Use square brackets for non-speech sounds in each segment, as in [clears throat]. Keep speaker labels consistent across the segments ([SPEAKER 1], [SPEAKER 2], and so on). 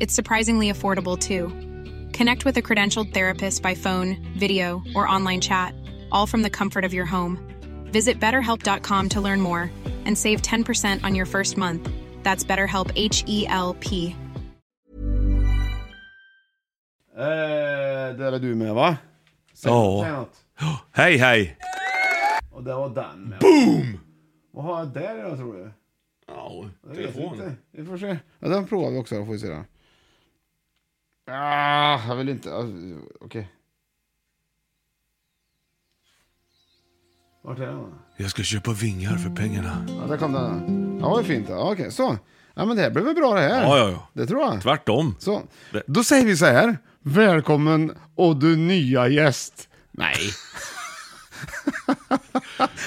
[SPEAKER 1] It's surprisingly affordable too. Connect with a credentialed therapist by phone, video, or online chat, all from the comfort of your home. Visit betterhelp.com to learn more and save 10% on your first month. That's BetterHelp H E L P.
[SPEAKER 2] Eh, där är du med va? Säg,
[SPEAKER 3] Ja.
[SPEAKER 2] säg något.
[SPEAKER 3] Hej hej!
[SPEAKER 2] Och där var den med. Boom! Vad har jag där då tror du?
[SPEAKER 3] Ja,
[SPEAKER 2] Jag vet inte. Vi får se. Ja, den provar vi också då får vi se den. Ah, jag vill inte. Ah, Okej. Vart är den då?
[SPEAKER 3] Jag ska köpa vingar för pengarna.
[SPEAKER 2] Ja, där kom den. Ja, det var ju fint. då. Ja, Okej, så. Ja, men det här blev väl bra det här?
[SPEAKER 3] Ja, ja, ja.
[SPEAKER 2] Det tror jag.
[SPEAKER 3] Tvärtom.
[SPEAKER 2] Så,
[SPEAKER 3] Det-
[SPEAKER 2] då säger vi så här. Välkommen och du nya gäst.
[SPEAKER 3] [laughs]
[SPEAKER 2] Nej.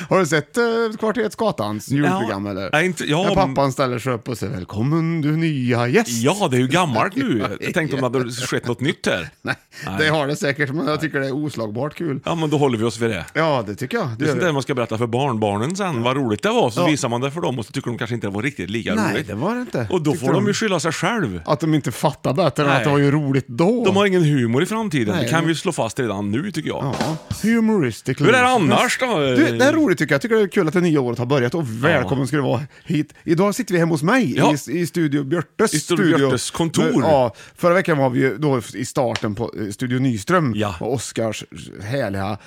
[SPEAKER 2] Har du sett eh, Kvarteret Skatans julprogram
[SPEAKER 3] Ja,
[SPEAKER 2] eller?
[SPEAKER 3] nej, inte- ja,
[SPEAKER 2] När
[SPEAKER 3] men-
[SPEAKER 2] pappan ställer sig upp och säger välkommen du nya gäst.
[SPEAKER 3] Ja, det är ju gammalt nu. Jag tänkte om det hade skett något nytt här.
[SPEAKER 2] Nej,
[SPEAKER 3] Nej.
[SPEAKER 2] det har det säkert, men jag tycker det är oslagbart kul.
[SPEAKER 3] Ja, men då håller vi oss vid det.
[SPEAKER 2] Ja, det tycker jag.
[SPEAKER 3] Det är sånt där man ska berätta för barnbarnen sen, vad roligt det var. Så visar man det för dem och så tycker de kanske inte det var riktigt lika
[SPEAKER 2] Nej,
[SPEAKER 3] roligt.
[SPEAKER 2] det var det inte.
[SPEAKER 3] Och då
[SPEAKER 2] Tyckte
[SPEAKER 3] får de
[SPEAKER 2] de-
[SPEAKER 3] ju skylla sig själv.
[SPEAKER 2] Att de inte fattar bättre än
[SPEAKER 3] Nej.
[SPEAKER 2] att det var ju roligt då.
[SPEAKER 3] De har ingen humor i framtiden.
[SPEAKER 2] Nej.
[SPEAKER 3] Det kan vi ju slå fast redan nu, tycker jag.
[SPEAKER 2] Ja, humoristic.
[SPEAKER 3] Hur är det annars då?
[SPEAKER 2] Du, det här är roligt tycker jag. Jag tycker det är kul att det nya året har börjat och välkommen ska du vara hit. Idag sitter vi hemma hos mig
[SPEAKER 3] Ja.
[SPEAKER 2] i, i Studio Björtes
[SPEAKER 3] I Studio Björtes kontor.
[SPEAKER 2] Ja, förra veckan var vi ju då i starten på eh, Studio Nyström
[SPEAKER 3] Ja.
[SPEAKER 2] och Oskars härliga...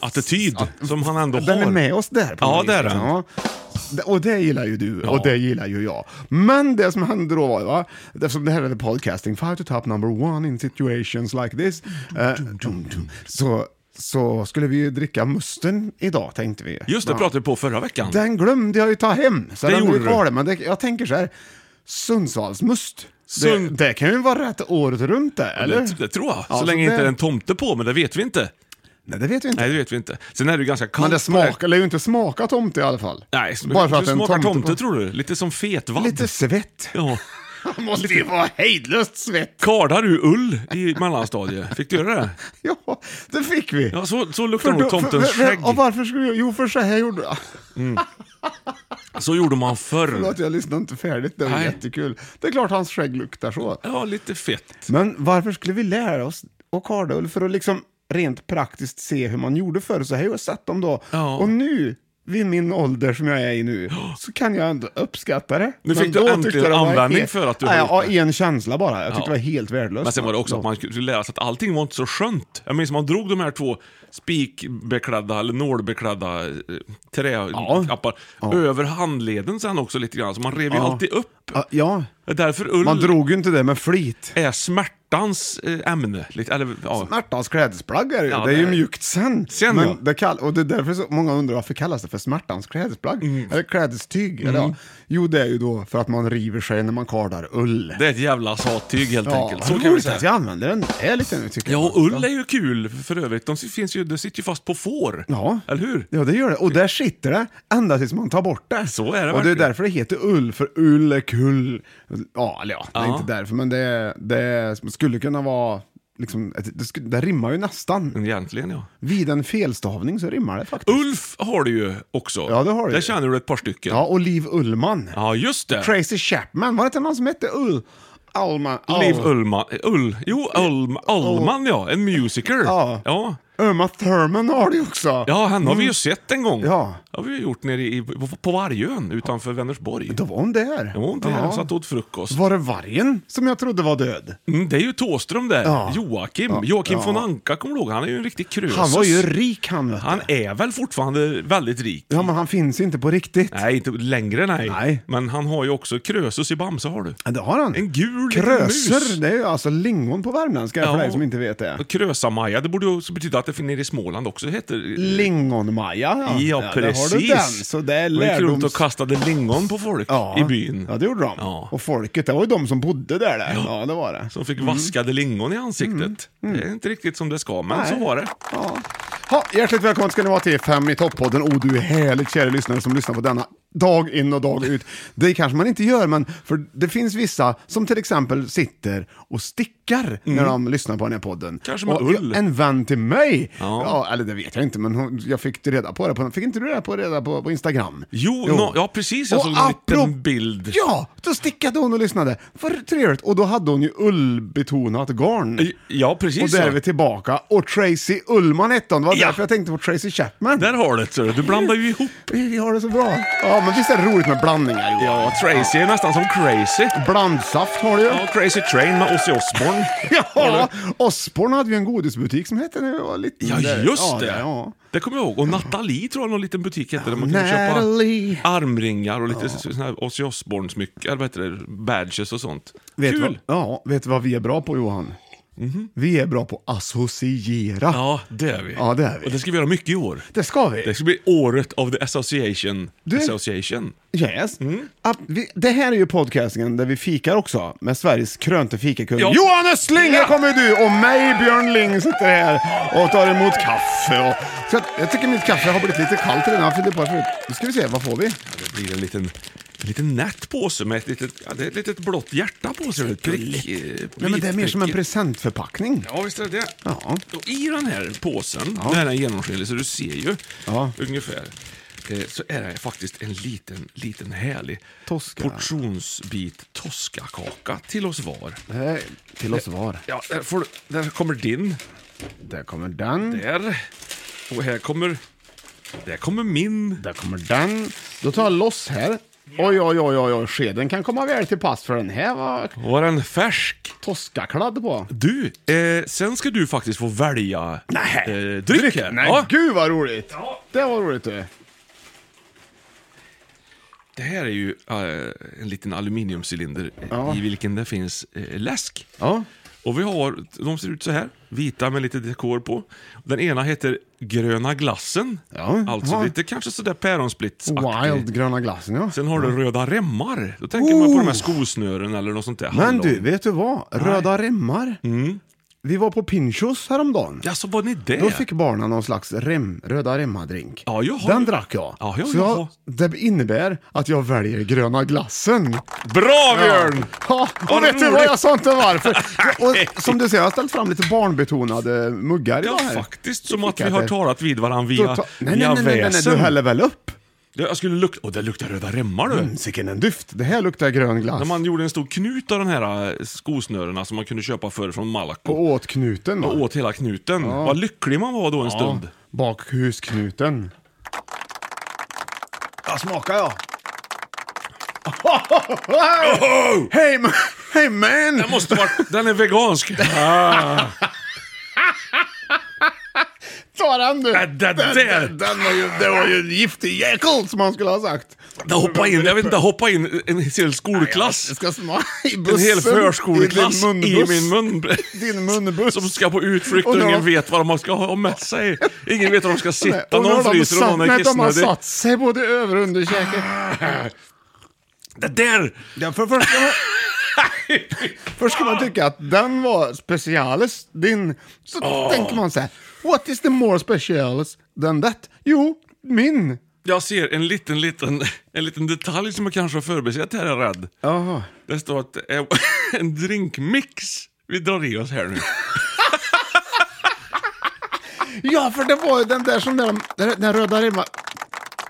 [SPEAKER 3] Attityd, som han ändå
[SPEAKER 2] Den
[SPEAKER 3] har.
[SPEAKER 2] är med oss där. På
[SPEAKER 3] Ja,
[SPEAKER 2] något
[SPEAKER 3] det är
[SPEAKER 2] vis,
[SPEAKER 3] den.
[SPEAKER 2] ja. Det- Och det gillar ju du och
[SPEAKER 3] Ja.
[SPEAKER 2] det gillar ju jag. Men det som hände då var ju, va? eftersom det här är podcasting, five to top number one in situations like this, eh, så, så skulle vi ju dricka musten idag tänkte vi.
[SPEAKER 3] Just det,
[SPEAKER 2] Ja.
[SPEAKER 3] pratade vi på förra veckan.
[SPEAKER 2] Den glömde jag ju ta hem, så
[SPEAKER 3] Det
[SPEAKER 2] den
[SPEAKER 3] gjorde
[SPEAKER 2] blir kvar
[SPEAKER 3] du.
[SPEAKER 2] där. Men det, jag tänker så här, Sundsvallsmust.
[SPEAKER 3] Sund-
[SPEAKER 2] Det, det kan ju vara rätt året runt det, eller?
[SPEAKER 3] Det, det tror jag.
[SPEAKER 2] Ja,
[SPEAKER 3] så
[SPEAKER 2] så
[SPEAKER 3] länge inte
[SPEAKER 2] det-
[SPEAKER 3] det är en tomte på, men det vet vi inte.
[SPEAKER 2] Nej, det vet vi inte.
[SPEAKER 3] Nej, det vet vi inte. Sen är det ju ganska kallt.
[SPEAKER 2] men det
[SPEAKER 3] på här-
[SPEAKER 2] smakar, eller ju inte smaka tomte i alla fall.
[SPEAKER 3] Nej, så-
[SPEAKER 2] Bara för att
[SPEAKER 3] du
[SPEAKER 2] en
[SPEAKER 3] smakar tomte,
[SPEAKER 2] på-
[SPEAKER 3] tror du? Lite som fetvadd.
[SPEAKER 2] Lite svett.
[SPEAKER 3] Ja.
[SPEAKER 2] Det måste ju vara hejdlöst svett.
[SPEAKER 3] Kardar du ull i mellanstadiet? Fick du göra det?
[SPEAKER 2] [laughs] Ja, det fick vi.
[SPEAKER 3] Ja, så, så luktar
[SPEAKER 2] För
[SPEAKER 3] nog
[SPEAKER 2] då-
[SPEAKER 3] tomtens
[SPEAKER 2] för- för-
[SPEAKER 3] skägg.
[SPEAKER 2] Och varför skulle jag? Jo, för så här gjorde jag.
[SPEAKER 3] Så gjorde man förr.
[SPEAKER 2] Förlåt, jag lyssnade inte färdigt. Det var
[SPEAKER 3] Nej.
[SPEAKER 2] jättekul. Det är klart hans skägg luktar så.
[SPEAKER 3] Ja, lite fett.
[SPEAKER 2] Men varför skulle vi lära oss och kardull för att liksom rent praktiskt se hur man gjorde förr? Så här har jag sett dem då.
[SPEAKER 3] Ja.
[SPEAKER 2] Och nu, vid min ålder som jag är i
[SPEAKER 3] [gasps]
[SPEAKER 2] nu, så kan jag ändå uppskatta det.
[SPEAKER 3] Nu fick
[SPEAKER 2] Men
[SPEAKER 3] du
[SPEAKER 2] då
[SPEAKER 3] äntligen
[SPEAKER 2] tyckte jag det var
[SPEAKER 3] användning
[SPEAKER 2] helt-
[SPEAKER 3] för att du har
[SPEAKER 2] Nej,
[SPEAKER 3] gjort
[SPEAKER 2] Ja,
[SPEAKER 3] det.
[SPEAKER 2] en känsla bara. Jag tyckte
[SPEAKER 3] Ja.
[SPEAKER 2] det var helt värdelöst.
[SPEAKER 3] Men sen var det också att man skulle lära sig att allting var inte så skönt. Jag minns man drog de här två spikbeklädda, eller nålbeklädda eh, träappar över handleden sen också lite grann. Så man rev ju alltid upp.
[SPEAKER 2] Ja, Ja,
[SPEAKER 3] Det är Därför ull
[SPEAKER 2] man drog ju inte det med flit.
[SPEAKER 3] är smärtans eh, ämne. Lite, eller, ja.
[SPEAKER 2] Smärtans klädesplagg är det, ju.
[SPEAKER 3] Ja,
[SPEAKER 2] det är ju
[SPEAKER 3] det-
[SPEAKER 2] mjukt sen.
[SPEAKER 3] Sen,
[SPEAKER 2] men
[SPEAKER 3] ja.
[SPEAKER 2] det kall, och det är därför så många undrar varför kallas det för smärtans klädesplagg?
[SPEAKER 3] Mm.
[SPEAKER 2] Eller klädestyg? Eller, ja. Jo, det är ju då för att man river sig när man kardar ull.
[SPEAKER 3] Det är ett jävla sattyg helt enkelt. Så
[SPEAKER 2] vad
[SPEAKER 3] kan vi
[SPEAKER 2] roligt att
[SPEAKER 3] säga.
[SPEAKER 2] jag använder den här lite nu tycker
[SPEAKER 3] Ja,
[SPEAKER 2] jag.
[SPEAKER 3] och ull är ju kul för övrigt. De finns ju, det sitter ju fast på får.
[SPEAKER 2] Ja.
[SPEAKER 3] Eller hur?
[SPEAKER 2] Ja, det gör det. Och där sitter det ända tills man tar bort det.
[SPEAKER 3] Så är
[SPEAKER 2] Och det
[SPEAKER 3] det
[SPEAKER 2] är
[SPEAKER 3] verkligen.
[SPEAKER 2] därför det heter ull, för ull är kull. Ja, eller ja, det är
[SPEAKER 3] Ja.
[SPEAKER 2] inte därför, men det, det skulle kunna vara liksom, ett- det, sk- det rimmar ju
[SPEAKER 3] Mm.
[SPEAKER 2] nästan.
[SPEAKER 3] Egentligen ja.
[SPEAKER 2] Vid en felstavning så rimmar det faktiskt.
[SPEAKER 3] Ulf har du ju också.
[SPEAKER 2] Ja, det har du
[SPEAKER 3] Där
[SPEAKER 2] ju.
[SPEAKER 3] känner du ett par stycken.
[SPEAKER 2] Ja, och Liv Ullman.
[SPEAKER 3] Ja, just det.
[SPEAKER 2] Tracy Chapman, var det inte någon som hette Ull... Alman?
[SPEAKER 3] Liv Ullman. Ull, jo, Ullman, Ullman ja. En musiker.
[SPEAKER 2] Ja.
[SPEAKER 3] Ja,
[SPEAKER 2] Uma Thurman har du också.
[SPEAKER 3] ja henne har vi ju sett en gång.
[SPEAKER 2] Ja.
[SPEAKER 3] Det har vi ju gjort nere i, på, på Vargön utanför Vänersborg.
[SPEAKER 2] Då var hon där.
[SPEAKER 3] Jo, hon där satt och åt frukost.
[SPEAKER 2] Var det vargen som jag trodde var död?
[SPEAKER 3] Mm, det är ju Tåström där.
[SPEAKER 2] Ja.
[SPEAKER 3] Joakim. Joakim von Anka, kommer du ihåg? Han är ju en riktig krösus.
[SPEAKER 2] Han var ju rik han, vet du.
[SPEAKER 3] Han är väl fortfarande väldigt rik?
[SPEAKER 2] Ja, men han finns ju inte på riktigt.
[SPEAKER 3] Nej, inte längre nej.
[SPEAKER 2] Nej.
[SPEAKER 3] Men han har ju också krösus i Bamse har du.
[SPEAKER 2] Ja, Det har han.
[SPEAKER 3] En gul liten mus.
[SPEAKER 2] Kröser, det är ju alltså lingon på värmländska
[SPEAKER 3] Ja.
[SPEAKER 2] för dig som inte vet det.
[SPEAKER 3] Och Krösa-Maja, det borde ju också betyda att det finns nere i Småland också. Det heter...
[SPEAKER 2] Lingonmaja,
[SPEAKER 3] Ja, precis.
[SPEAKER 2] Där har du den. Så det är
[SPEAKER 3] De gick runt
[SPEAKER 2] lärdoms... Mm.
[SPEAKER 3] och kastade lingon på folk
[SPEAKER 2] ja.
[SPEAKER 3] i byn.
[SPEAKER 2] Ja, det gjorde de.
[SPEAKER 3] Ja.
[SPEAKER 2] Och folket, det var ju de som bodde där. där. Ja. det var det. Mm.
[SPEAKER 3] Som fick vaskade lingon i ansiktet. Det är inte riktigt som det ska, men
[SPEAKER 2] Nej.
[SPEAKER 3] så var det.
[SPEAKER 2] Ja. Ha, hjärtligt välkommen ska ni vara till Fem i topp-podden. Och du är härligt kära lyssnare som lyssnar på denna dag in och dag ut. Det kanske man inte gör, men för det finns vissa som till exempel sitter och stickar när de lyssnar på den här podden.
[SPEAKER 3] Mm. Kanske med
[SPEAKER 2] och jag-
[SPEAKER 3] ull.
[SPEAKER 2] En vän till mig,
[SPEAKER 3] Ja.
[SPEAKER 2] ja. eller det vet jag inte, men hon, jag fick reda på det. På, fick inte du reda på det reda på, på Instagram?
[SPEAKER 3] Jo, nå- ja, precis. Jag
[SPEAKER 2] Och
[SPEAKER 3] såg en
[SPEAKER 2] apropå-
[SPEAKER 3] liten bild.
[SPEAKER 2] Ja, då stickade hon och lyssnade. Vad trevligt. Och då hade hon ju ullbetonat garn.
[SPEAKER 3] Ja, precis.
[SPEAKER 2] Och där
[SPEAKER 3] ja.
[SPEAKER 2] är vi tillbaka. Och Tracy Ullman hette hon. Det var
[SPEAKER 3] Ja.
[SPEAKER 2] därför jag tänkte på Tracy Chapman.
[SPEAKER 3] Där har du det, ser du. Du blandar ju ihop.
[SPEAKER 2] Vi vi har det så bra. Ja, men visst är det roligt med blandningar Johan?
[SPEAKER 3] Ja, Tracy är nästan som Crazy.
[SPEAKER 2] Blandsaft har du ju.
[SPEAKER 3] Ja, Crazy Train med Ozzy Osbourne.
[SPEAKER 2] [laughs] Ja, Osborn hade ju en godisbutik som hette när jag var liten.
[SPEAKER 3] Ja,
[SPEAKER 2] Där.
[SPEAKER 3] just
[SPEAKER 2] ja,
[SPEAKER 3] det.
[SPEAKER 2] där, Ja.
[SPEAKER 3] Det kommer jag ihåg. Och Nathalie tror jag någon liten butik hette där man kunde
[SPEAKER 2] Natalie.
[SPEAKER 3] köpa armringar och lite ja. sådana här Ozzy Osbourne-smycken, eller vad heter det, badges och sånt.
[SPEAKER 2] Vet du
[SPEAKER 3] Kul! Mhm.
[SPEAKER 2] vad, ja, vet du vad vi är bra på Johan? Vi är bra på att associera.
[SPEAKER 3] Ja, det är vi.
[SPEAKER 2] Ja, det är vi.
[SPEAKER 3] Och det ska vi göra mycket i år.
[SPEAKER 2] Det ska vi.
[SPEAKER 3] Det ska bli året of the association.
[SPEAKER 2] Du-
[SPEAKER 3] association.
[SPEAKER 2] Yes. Att vi, det här är ju podcastingen där vi fikar också med Sveriges krönte fikakung.
[SPEAKER 3] Ja.
[SPEAKER 2] Johan Östling, här kommer du! Och mig, Björn Ling, sitter här och tar emot kaffe. Och, så att, jag tycker mitt kaffe har blivit lite kallt redan. för det är bara för- Nu ska vi se, vad får vi?
[SPEAKER 3] Det blir en liten, en liten nätt påse med ett litet, ja, det är ett litet blått hjärta på sig. Ett prick, eh,
[SPEAKER 2] Nej, men det är mer som en
[SPEAKER 3] vitprick.
[SPEAKER 2] presentförpackning.
[SPEAKER 3] Ja, visst är det det.
[SPEAKER 2] Ja.
[SPEAKER 3] Och I den här påsen, den här är genomskinlig så du ser ju
[SPEAKER 2] Ja.
[SPEAKER 3] ungefär, eh, så är det faktiskt en liten, liten härlig
[SPEAKER 2] Toska.
[SPEAKER 3] portionsbit toskakaka till oss var.
[SPEAKER 2] Eh, Till oss var.
[SPEAKER 3] Ja, där, får, du- där kommer din.
[SPEAKER 2] Där kommer den.
[SPEAKER 3] Där. Och här kommer... Där kommer min.
[SPEAKER 2] Där kommer den. Då tar jag loss här. Oj, oj, oj, oj, oj, skeden kan komma väl till pass för den här var
[SPEAKER 3] Var den färsk?
[SPEAKER 2] Toskakladd på.
[SPEAKER 3] Du, eh, sen ska du faktiskt få välja
[SPEAKER 2] Nej.
[SPEAKER 3] eh, dryck här.
[SPEAKER 2] Nej,
[SPEAKER 3] ja.
[SPEAKER 2] gud vad roligt! Det var roligt du.
[SPEAKER 3] Det här är ju eh, en liten aluminiumcylinder eh, i vilken det finns eh, läsk.
[SPEAKER 2] Ja.
[SPEAKER 3] Och vi har, de ser ut så här, vita med lite dekor på. Den ena heter Gröna glassen,
[SPEAKER 2] Ja,
[SPEAKER 3] alltså
[SPEAKER 2] ja.
[SPEAKER 3] lite kanske sådär päronsplits
[SPEAKER 2] Wild gröna glassen ja. Oh.
[SPEAKER 3] Sen har du röda remmar, då tänker man på de här skosnören eller något sånt där.
[SPEAKER 2] Men
[SPEAKER 3] hallon.
[SPEAKER 2] du, vet du vad? Röda remmar. Vi var på Pinchos häromdagen.
[SPEAKER 3] Mm. Ja, så var ni det?
[SPEAKER 2] Då fick barnen någon slags rem, röda remmadrink.
[SPEAKER 3] Ja, jaha.
[SPEAKER 2] Den drack jag.
[SPEAKER 3] Ja, ja,
[SPEAKER 2] så jag,
[SPEAKER 3] jaha.
[SPEAKER 2] det innebär att jag väljer gröna glassen.
[SPEAKER 3] Bra Björn!
[SPEAKER 2] Ja,
[SPEAKER 3] Vad
[SPEAKER 2] och vet du vad
[SPEAKER 3] roligt.
[SPEAKER 2] jag sa inte varför? Och, som du ser, jag har ställt fram lite barnbetonade muggar idag
[SPEAKER 3] Ja,
[SPEAKER 2] här.
[SPEAKER 3] faktiskt som att vi
[SPEAKER 2] Fikat
[SPEAKER 3] har
[SPEAKER 2] här.
[SPEAKER 3] talat vid varandra
[SPEAKER 2] Då
[SPEAKER 3] via,
[SPEAKER 2] ta- nej, nej,
[SPEAKER 3] via
[SPEAKER 2] nej, nej, nej, nej, du
[SPEAKER 3] väsen.
[SPEAKER 2] häller väl upp?
[SPEAKER 3] Jag skulle lukta... Åh, det luktar röda remmar du!
[SPEAKER 2] Sicken Mm, en dyft. Det här luktar grön glass.
[SPEAKER 3] När man gjorde en stor knut av de här eh, skosnörena som man kunde köpa förr från Malaco.
[SPEAKER 2] Och åt knuten va?
[SPEAKER 3] och åt hela knuten. Vad lycklig man var då en stund.
[SPEAKER 2] Bakhusknuten. Jag smakar jag. Hej ma- [laughs] hey man!
[SPEAKER 3] Den måste vara... Den
[SPEAKER 2] [laughs]
[SPEAKER 3] är vegansk.
[SPEAKER 2] Ta den du!
[SPEAKER 3] Den- den där.
[SPEAKER 2] den, den var ju, det var ju en giftig jäkel som man skulle ha sagt.
[SPEAKER 3] Det hoppa in, jag vet inte, hoppa in en hel skolklass.
[SPEAKER 2] Jag ska smaka i bussen.
[SPEAKER 3] En hel förskoleklass
[SPEAKER 2] i,
[SPEAKER 3] i,
[SPEAKER 2] din munbuss.
[SPEAKER 3] min mun.
[SPEAKER 2] [laughs] Din munbuss.
[SPEAKER 3] Som ska på utflykt och
[SPEAKER 2] Och nu har-
[SPEAKER 3] ingen vet vad de ska ha med sig. Ingen vet var de ska
[SPEAKER 2] Nej,
[SPEAKER 3] sitta,
[SPEAKER 2] och nu har
[SPEAKER 3] någon
[SPEAKER 2] de
[SPEAKER 3] fryser
[SPEAKER 2] satt-
[SPEAKER 3] och någon är
[SPEAKER 2] nej, De har
[SPEAKER 3] kissnödig.
[SPEAKER 2] satt sig både över och underkäke.
[SPEAKER 3] Det där!
[SPEAKER 2] Ja, för först, ska man, [laughs] först ska man tycka att den var specialis, din. Så tänker man så här, what is the more specialis than that? Jo, min.
[SPEAKER 3] Jag ser en liten, liten, en liten detalj som jag kanske har förbisett här, jag är rädd.
[SPEAKER 2] Jaha.
[SPEAKER 3] [laughs] Det står att det är en drinkmix vi drar i oss här nu.
[SPEAKER 2] Ja, för det var ju den där som den, den där röda rimman.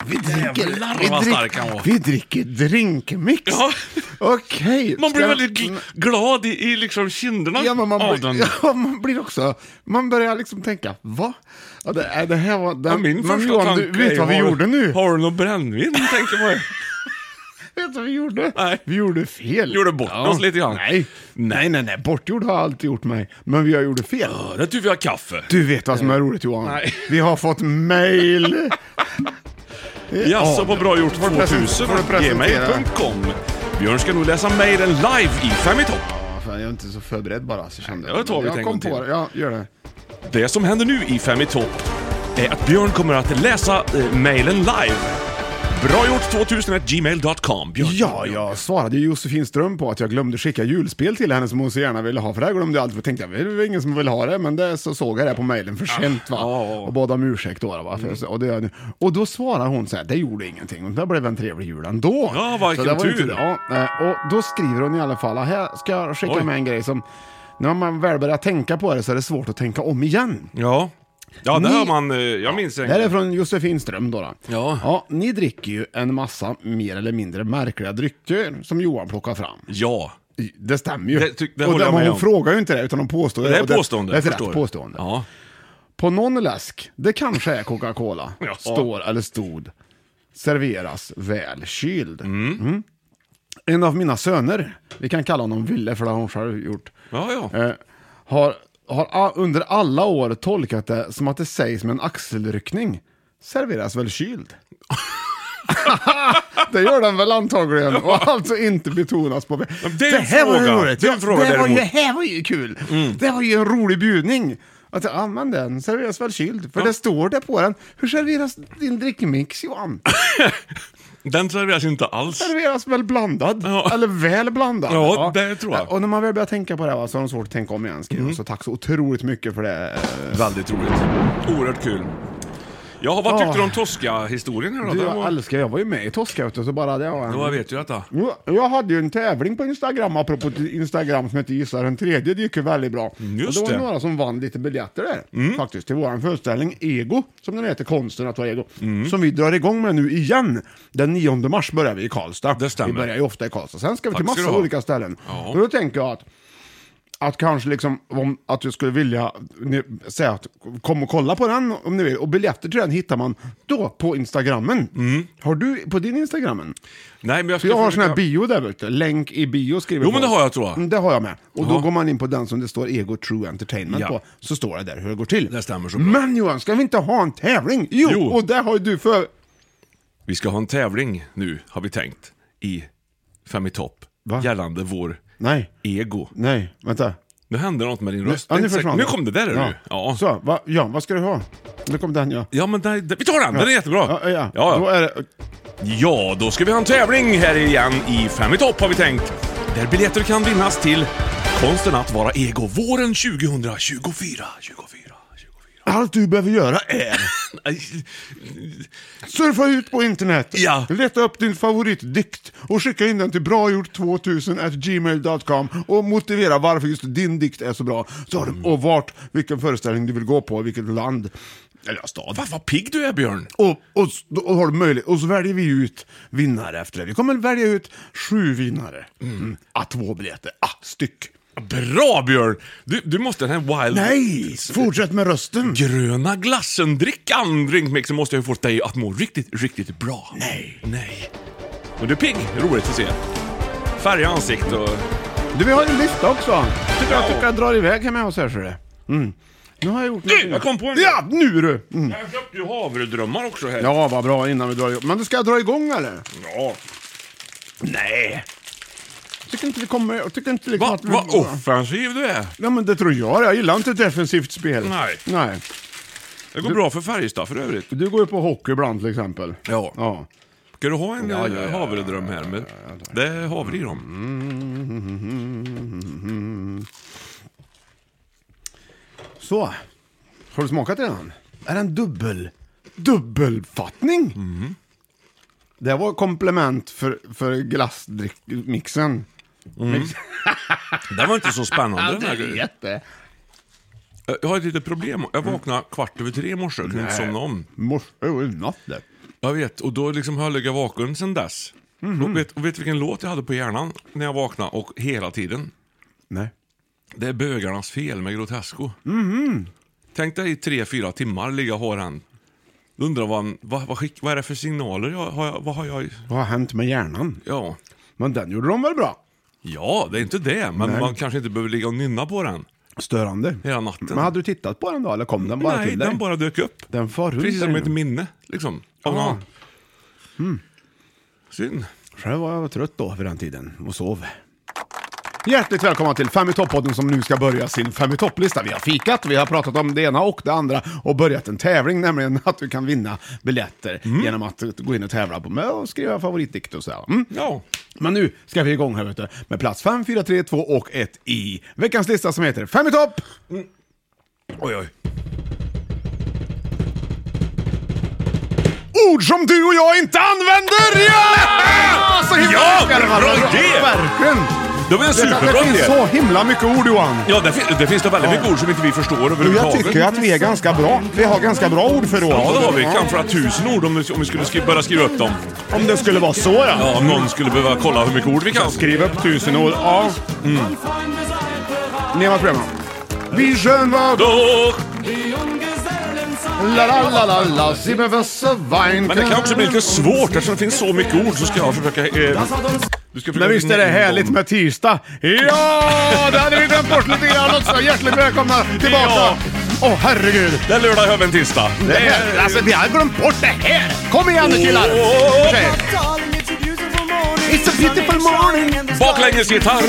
[SPEAKER 2] Vi
[SPEAKER 3] Jävlar, vad stark han var.
[SPEAKER 2] vi dricker drinkmix.
[SPEAKER 3] Ja.
[SPEAKER 2] Okej.
[SPEAKER 3] [laughs] Man blir
[SPEAKER 2] ska-
[SPEAKER 3] väldigt gl- glad i, i liksom kinderna
[SPEAKER 2] Ja, men man,
[SPEAKER 3] av
[SPEAKER 2] blir-
[SPEAKER 3] den.
[SPEAKER 2] [laughs] ja, man blir också... Man börjar liksom tänka, va? Ja, det, äh, det här var... Den,
[SPEAKER 3] Ja, min
[SPEAKER 2] men
[SPEAKER 3] första
[SPEAKER 2] Johan, du
[SPEAKER 3] tanke
[SPEAKER 2] vet
[SPEAKER 3] är,
[SPEAKER 2] vad vi
[SPEAKER 3] har-
[SPEAKER 2] gjorde nu?
[SPEAKER 3] Har du någon brännvin, tänker man ju.
[SPEAKER 2] [laughs] Vet du vad vi gjorde?
[SPEAKER 3] Nej.
[SPEAKER 2] Vi gjorde fel.
[SPEAKER 3] Gjorde bort oss lite grann.
[SPEAKER 2] Nej. nej, nej, nej. Bortgjord har jag alltid gjort mig, men jag gjorde fel.
[SPEAKER 3] Ja, det är tur vi har kaffe.
[SPEAKER 2] Du vet vad som är roligt Johan?
[SPEAKER 3] Nej.
[SPEAKER 2] Vi har fått mail.
[SPEAKER 3] Jaså, vad bra gjort
[SPEAKER 2] Får du presen-
[SPEAKER 3] 2000.
[SPEAKER 2] får du presentera?
[SPEAKER 3] Gmail.com. Björn ska nog läsa mejlen live i Fem i topp.
[SPEAKER 2] Ja, fan, jag är inte så förberedd bara, så kände
[SPEAKER 3] Ja, då tar vi
[SPEAKER 2] jag
[SPEAKER 3] det en
[SPEAKER 2] kom
[SPEAKER 3] gång
[SPEAKER 2] på
[SPEAKER 3] till.
[SPEAKER 2] det. Ja, gör det.
[SPEAKER 3] Det som händer nu i Fem i topp är att Björn kommer att läsa eh, mejlen live. Bra gjort 2000 gmail.com. Björn.
[SPEAKER 2] Ja, jag svarade ju Josefin Ström på att jag glömde skicka julspel till henne som hon så gärna ville ha, för det här glömde jag alltid. För jag tänkte jag, det var ingen som ville ha det, men det, så såg jag det på mejlen för sent va.
[SPEAKER 3] Ah, Ja. Mm.
[SPEAKER 2] Och bad om ursäkt då. Va? För, och, det, och då svarar hon så här, det gjorde ingenting, och det blev en trevlig jul ändå.
[SPEAKER 3] Ja, vilken
[SPEAKER 2] Så det var ju
[SPEAKER 3] tur.
[SPEAKER 2] inte- ja, eh, och då skriver hon i alla fall, "Ah, här ska jag skicka
[SPEAKER 3] Oj.
[SPEAKER 2] med en grej som, när man väl börjar tänka på det så är det svårt att tänka om igen.
[SPEAKER 3] Ja, ja det
[SPEAKER 2] Ni-
[SPEAKER 3] har man... eh, Jag minns en
[SPEAKER 2] Det här är från Josefin Ström då. då.
[SPEAKER 3] Ja.
[SPEAKER 2] ja. Ni dricker ju en massa mer eller mindre märkliga drycker som Johan plockar fram.
[SPEAKER 3] Ja.
[SPEAKER 2] Det stämmer ju.
[SPEAKER 3] Det tyck- det
[SPEAKER 2] och
[SPEAKER 3] håller jag
[SPEAKER 2] men
[SPEAKER 3] med
[SPEAKER 2] hon
[SPEAKER 3] om.
[SPEAKER 2] frågar ju inte det, utan hon påstår
[SPEAKER 3] Det är
[SPEAKER 2] och
[SPEAKER 3] påstående.
[SPEAKER 2] Det, det är ett
[SPEAKER 3] förstår
[SPEAKER 2] rätt
[SPEAKER 3] du.
[SPEAKER 2] påstående.
[SPEAKER 3] Ja.
[SPEAKER 2] På någon läsk, det kanske är Coca-Cola,
[SPEAKER 3] Ja.
[SPEAKER 2] står eller stod, serveras väl kyld. Mm. En av mina söner, vi kan kalla honom Ville för det har hon själv gjort,
[SPEAKER 3] Ja, ja.
[SPEAKER 2] eh, har, har a- under alla år tolkat det som att det sägs med en axelryckning. Serveras väl kyld? [laughs] det gör den väl antagligen och alltså inte betonas på...
[SPEAKER 3] Men det är en fråga. Det är en
[SPEAKER 2] Ja,
[SPEAKER 3] fråga Mm.
[SPEAKER 2] det, var ju,
[SPEAKER 3] däremot.
[SPEAKER 2] här var ju kul! Det var ju en rolig bjudning! Att använd den, serveras väl kyld. För det står det på den. Hur serveras din drickmix Johan?
[SPEAKER 3] Den serveras inte alls.
[SPEAKER 2] serveras väl blandad,
[SPEAKER 3] Ja.
[SPEAKER 2] eller väl blandad. Eh,
[SPEAKER 3] Ja, det tror jag. Mm.
[SPEAKER 2] Och när man väl börjar tänka på det här, va, så har de svårt att tänka om igen. Skriver. Så tack så otroligt mycket för det. eh,
[SPEAKER 3] Väldigt roligt. Oerhört kul. Ja, vad tyckte du om Tosca-historien här då?
[SPEAKER 2] Du,
[SPEAKER 3] Den var-
[SPEAKER 2] jag älskar, jag var ju med i Tosca vet du, så bara det var en...
[SPEAKER 3] Ja, jag vet ju detta.
[SPEAKER 2] Jo, Jag hade ju en tävling på Instagram, apropå till Instagram, som hette Gissa den tredje. Det gick ju väldigt bra.
[SPEAKER 3] just
[SPEAKER 2] och det var
[SPEAKER 3] det. Mm.
[SPEAKER 2] några som vann lite biljetter där, faktiskt, till vår föreställning Ego, som den heter, Konsten att vara ego,
[SPEAKER 3] Mm.
[SPEAKER 2] som vi drar igång med nu igen. Den 9 mars börjar vi i Karlstad.
[SPEAKER 3] Det stämmer.
[SPEAKER 2] Vi börjar ju ofta i Karlstad. Sen ska vi till
[SPEAKER 3] Tack ska
[SPEAKER 2] massa
[SPEAKER 3] du ha.
[SPEAKER 2] olika ställen.
[SPEAKER 3] Ja.
[SPEAKER 2] Och då tänker jag att att kanske liksom, om, att du skulle vilja ni, säga att kom och kolla på den om ni vill. Och biljetter till den hittar man då på Instagrammen.
[SPEAKER 3] Mm.
[SPEAKER 2] Har du på din Instagrammen?
[SPEAKER 3] Nej, men jag
[SPEAKER 2] För
[SPEAKER 3] ska
[SPEAKER 2] jag har sån
[SPEAKER 3] försöka-
[SPEAKER 2] här bio där ute, länk i bio skriver
[SPEAKER 3] Jo, men
[SPEAKER 2] folk.
[SPEAKER 3] det har jag, tror jag.
[SPEAKER 2] Mm, Det har jag med. Och då går man in på den som det står Ego True Entertainment
[SPEAKER 3] Ja.
[SPEAKER 2] på, så står det där hur det går till.
[SPEAKER 3] Det stämmer så bra.
[SPEAKER 2] Men Johan, ska vi inte ha en tävling? Jo,
[SPEAKER 3] Jo.
[SPEAKER 2] och där har ju du för...
[SPEAKER 3] Vi ska ha en tävling nu, har vi tänkt, i Fem i topp.
[SPEAKER 2] Va?
[SPEAKER 3] Gällande vår
[SPEAKER 2] Nej,
[SPEAKER 3] ego.
[SPEAKER 2] nej, vänta.
[SPEAKER 3] Nu hände något med din
[SPEAKER 2] Nu,
[SPEAKER 3] röst.
[SPEAKER 2] ja,
[SPEAKER 3] Det är
[SPEAKER 2] nu
[SPEAKER 3] inte säkert-
[SPEAKER 2] försvann
[SPEAKER 3] nu
[SPEAKER 2] den.
[SPEAKER 3] kom det där, är
[SPEAKER 2] ja.
[SPEAKER 3] du. Ja.
[SPEAKER 2] Så, va, ja, vad ska du ha? Nu kom den ja.
[SPEAKER 3] Ja, men där, där, vi tar den! Den är jättebra.
[SPEAKER 2] Ja, ja.
[SPEAKER 3] Ja,
[SPEAKER 2] Då
[SPEAKER 3] ja.
[SPEAKER 2] är det...
[SPEAKER 3] ja, då ska vi ha en tävling här igen i Fem i topp, har vi tänkt. Där biljetter kan vinnas till Konsten att vara ego, våren 2024. 24, 24.
[SPEAKER 2] Allt du behöver göra är
[SPEAKER 3] Nej,
[SPEAKER 2] surfa ut på internet,
[SPEAKER 3] Ja.
[SPEAKER 2] leta upp din favoritdikt och skicka in den till bragjort2000gmail.com och motivera varför just din dikt är så bra. Så har du, och vart, vilken föreställning du vill gå på, vilket land, eller ja, stad.
[SPEAKER 3] [laughs] Vad, vad pigg du är, Björn.
[SPEAKER 2] Och, och, s- då har du möjlighet, och så väljer vi ut vinnare efter det. Vi kommer välja ut sju vinnare. Mm. Ah, två biljetter, ah, styck.
[SPEAKER 3] Bra Björn! Du, du måste den här Wild...
[SPEAKER 2] Nej, fortsätt med rösten.
[SPEAKER 3] Gröna glassen-drickan, drinkmixen, måste jag ju få dig att må riktigt, riktigt bra. Nej. Nej. Och du är pigg. Roligt att se. Färga ansikt och...
[SPEAKER 2] Du, vi har en lista också. Tycker jag,
[SPEAKER 3] Ja.
[SPEAKER 2] tycker jag drar iväg hemma hos er, ser du. Mm. Nu har jag gjort
[SPEAKER 3] Du, jag kom på en-
[SPEAKER 2] Ja, nu du! Mm.
[SPEAKER 3] Jag köpte ju havredrömmar också här.
[SPEAKER 2] Ja, vad bra innan vi drar igång. Men du ska jag dra igång eller?
[SPEAKER 3] ja.
[SPEAKER 2] Nej. Tycker inte vi kommer... Jag tycker inte liksom
[SPEAKER 3] Va,
[SPEAKER 2] att vi...
[SPEAKER 3] vad offensiv du är.
[SPEAKER 2] Ja, men det tror jag. Jag gillar inte defensivt spel.
[SPEAKER 3] Nej.
[SPEAKER 2] Nej.
[SPEAKER 3] Det går bra för Färjestad för övrigt.
[SPEAKER 2] Du går ju på hockey ibland till exempel.
[SPEAKER 3] Ja.
[SPEAKER 2] Ja.
[SPEAKER 3] Ska du ha en
[SPEAKER 2] Ja,
[SPEAKER 3] ja,
[SPEAKER 2] ja, ja,
[SPEAKER 3] havredröm här? Med, det är havre i dem.
[SPEAKER 2] Så. Har du smakat redan? Är den dubbel? Mm. Dubbelfattning? Det var komplement för, för glassmixen.
[SPEAKER 3] Den var inte så spännande den här.
[SPEAKER 2] jätte.
[SPEAKER 3] Eh, Jag har ett litet problem.
[SPEAKER 2] Mm.
[SPEAKER 3] Jag vaknade kvart över tre i morse och kunde inte somna om.
[SPEAKER 2] Morse, oh, natt där.
[SPEAKER 3] Jag vet, och då liksom har jag legat vaken sedan dess.
[SPEAKER 2] Mhm.
[SPEAKER 3] Och, vet, och vet vilken låt jag hade på hjärnan när jag vaknade och hela tiden?
[SPEAKER 2] Nej.
[SPEAKER 3] Det är bögarnas fel med Grotesco.
[SPEAKER 2] Mhm.
[SPEAKER 3] Tänk dig i tre, fyra timmar ligga och ha den. Då Undrar vad, vad, vad, skick, vad är det för signaler jag har? Jag, vad har jag?
[SPEAKER 2] Vad har hänt med hjärnan?
[SPEAKER 3] Ja.
[SPEAKER 2] Men den gjorde de väl bra?
[SPEAKER 3] ja, det är inte det, men man kanske inte behöver ligga och nynna på den
[SPEAKER 2] Störande.
[SPEAKER 3] hela natten.
[SPEAKER 2] Men hade du tittat på den då, eller kom den bara
[SPEAKER 3] Nej,
[SPEAKER 2] till dig?
[SPEAKER 3] den bara dök upp.
[SPEAKER 2] Den far runt
[SPEAKER 3] Precis
[SPEAKER 2] där
[SPEAKER 3] som
[SPEAKER 2] inne.
[SPEAKER 3] ett minne, liksom. Av
[SPEAKER 2] Ja.
[SPEAKER 3] något.
[SPEAKER 2] Hmm.
[SPEAKER 3] Synd.
[SPEAKER 2] Själv var jag trött då för den tiden och sov. Hjärtligt välkomna till Fem i topp-podden som nu ska börja sin Fem i topplista. Vi har fikat, vi har pratat om det ena och det andra och börjat en tävling, nämligen att du kan vinna biljetter
[SPEAKER 3] Mm.
[SPEAKER 2] genom att gå in och tävla på med och skriva favoritdikt och sådär. Mm.
[SPEAKER 3] Ja.
[SPEAKER 2] Men nu ska vi igång här vet du, med plats 5, 4, 3, 2 och 1 i veckans lista som heter Fem i topp! Mm.
[SPEAKER 3] Oj, oj.
[SPEAKER 2] Ord som du och jag inte använder! Ja! Så himla
[SPEAKER 3] Ja,
[SPEAKER 2] ska det vara.
[SPEAKER 3] bra idé!
[SPEAKER 2] Verkligen!
[SPEAKER 3] Det var en
[SPEAKER 2] Det,
[SPEAKER 3] superbra
[SPEAKER 2] det finns
[SPEAKER 3] idé.
[SPEAKER 2] så himla mycket ord Johan!
[SPEAKER 3] Ja, det, fin- det finns det väldigt mycket ord som inte vi förstår
[SPEAKER 2] Jo, jag
[SPEAKER 3] överhuvudtaget.
[SPEAKER 2] tycker att vi är ganska bra. Vi har ganska bra ord för
[SPEAKER 3] Ja, det har vi.
[SPEAKER 2] Ja.
[SPEAKER 3] Kanske tusen ord om, vi- om vi skulle skri- börja skriva upp dem.
[SPEAKER 2] Om det skulle vara så ja.
[SPEAKER 3] Ja, om någon skulle behöva kolla hur mycket ord vi kan.
[SPEAKER 2] Skriv upp tusen ord. Ja.
[SPEAKER 3] Mm.
[SPEAKER 2] Ni har varit bra. Vi skön var då,
[SPEAKER 3] Då-
[SPEAKER 2] la la la la la, Zimmerwasser Wein.
[SPEAKER 3] Men det kan också bli lite svårt eftersom det finns så mycket ord så ska jag försöka... Eh, du ska försöka
[SPEAKER 2] Men visst är det härligt med tisdag? Ja, det hade vi glömt bort lite grann också. Hjärtligt välkomna tillbaka. Åh
[SPEAKER 3] Ja.
[SPEAKER 2] herregud.
[SPEAKER 3] Det är lördag, höven, tisdag.
[SPEAKER 2] Det här, alltså vi har glömt bort det här. Kom igen nu killar.
[SPEAKER 3] Åh.
[SPEAKER 2] Tjejer.
[SPEAKER 4] It's a beautiful morning
[SPEAKER 3] Baklängesgitarr.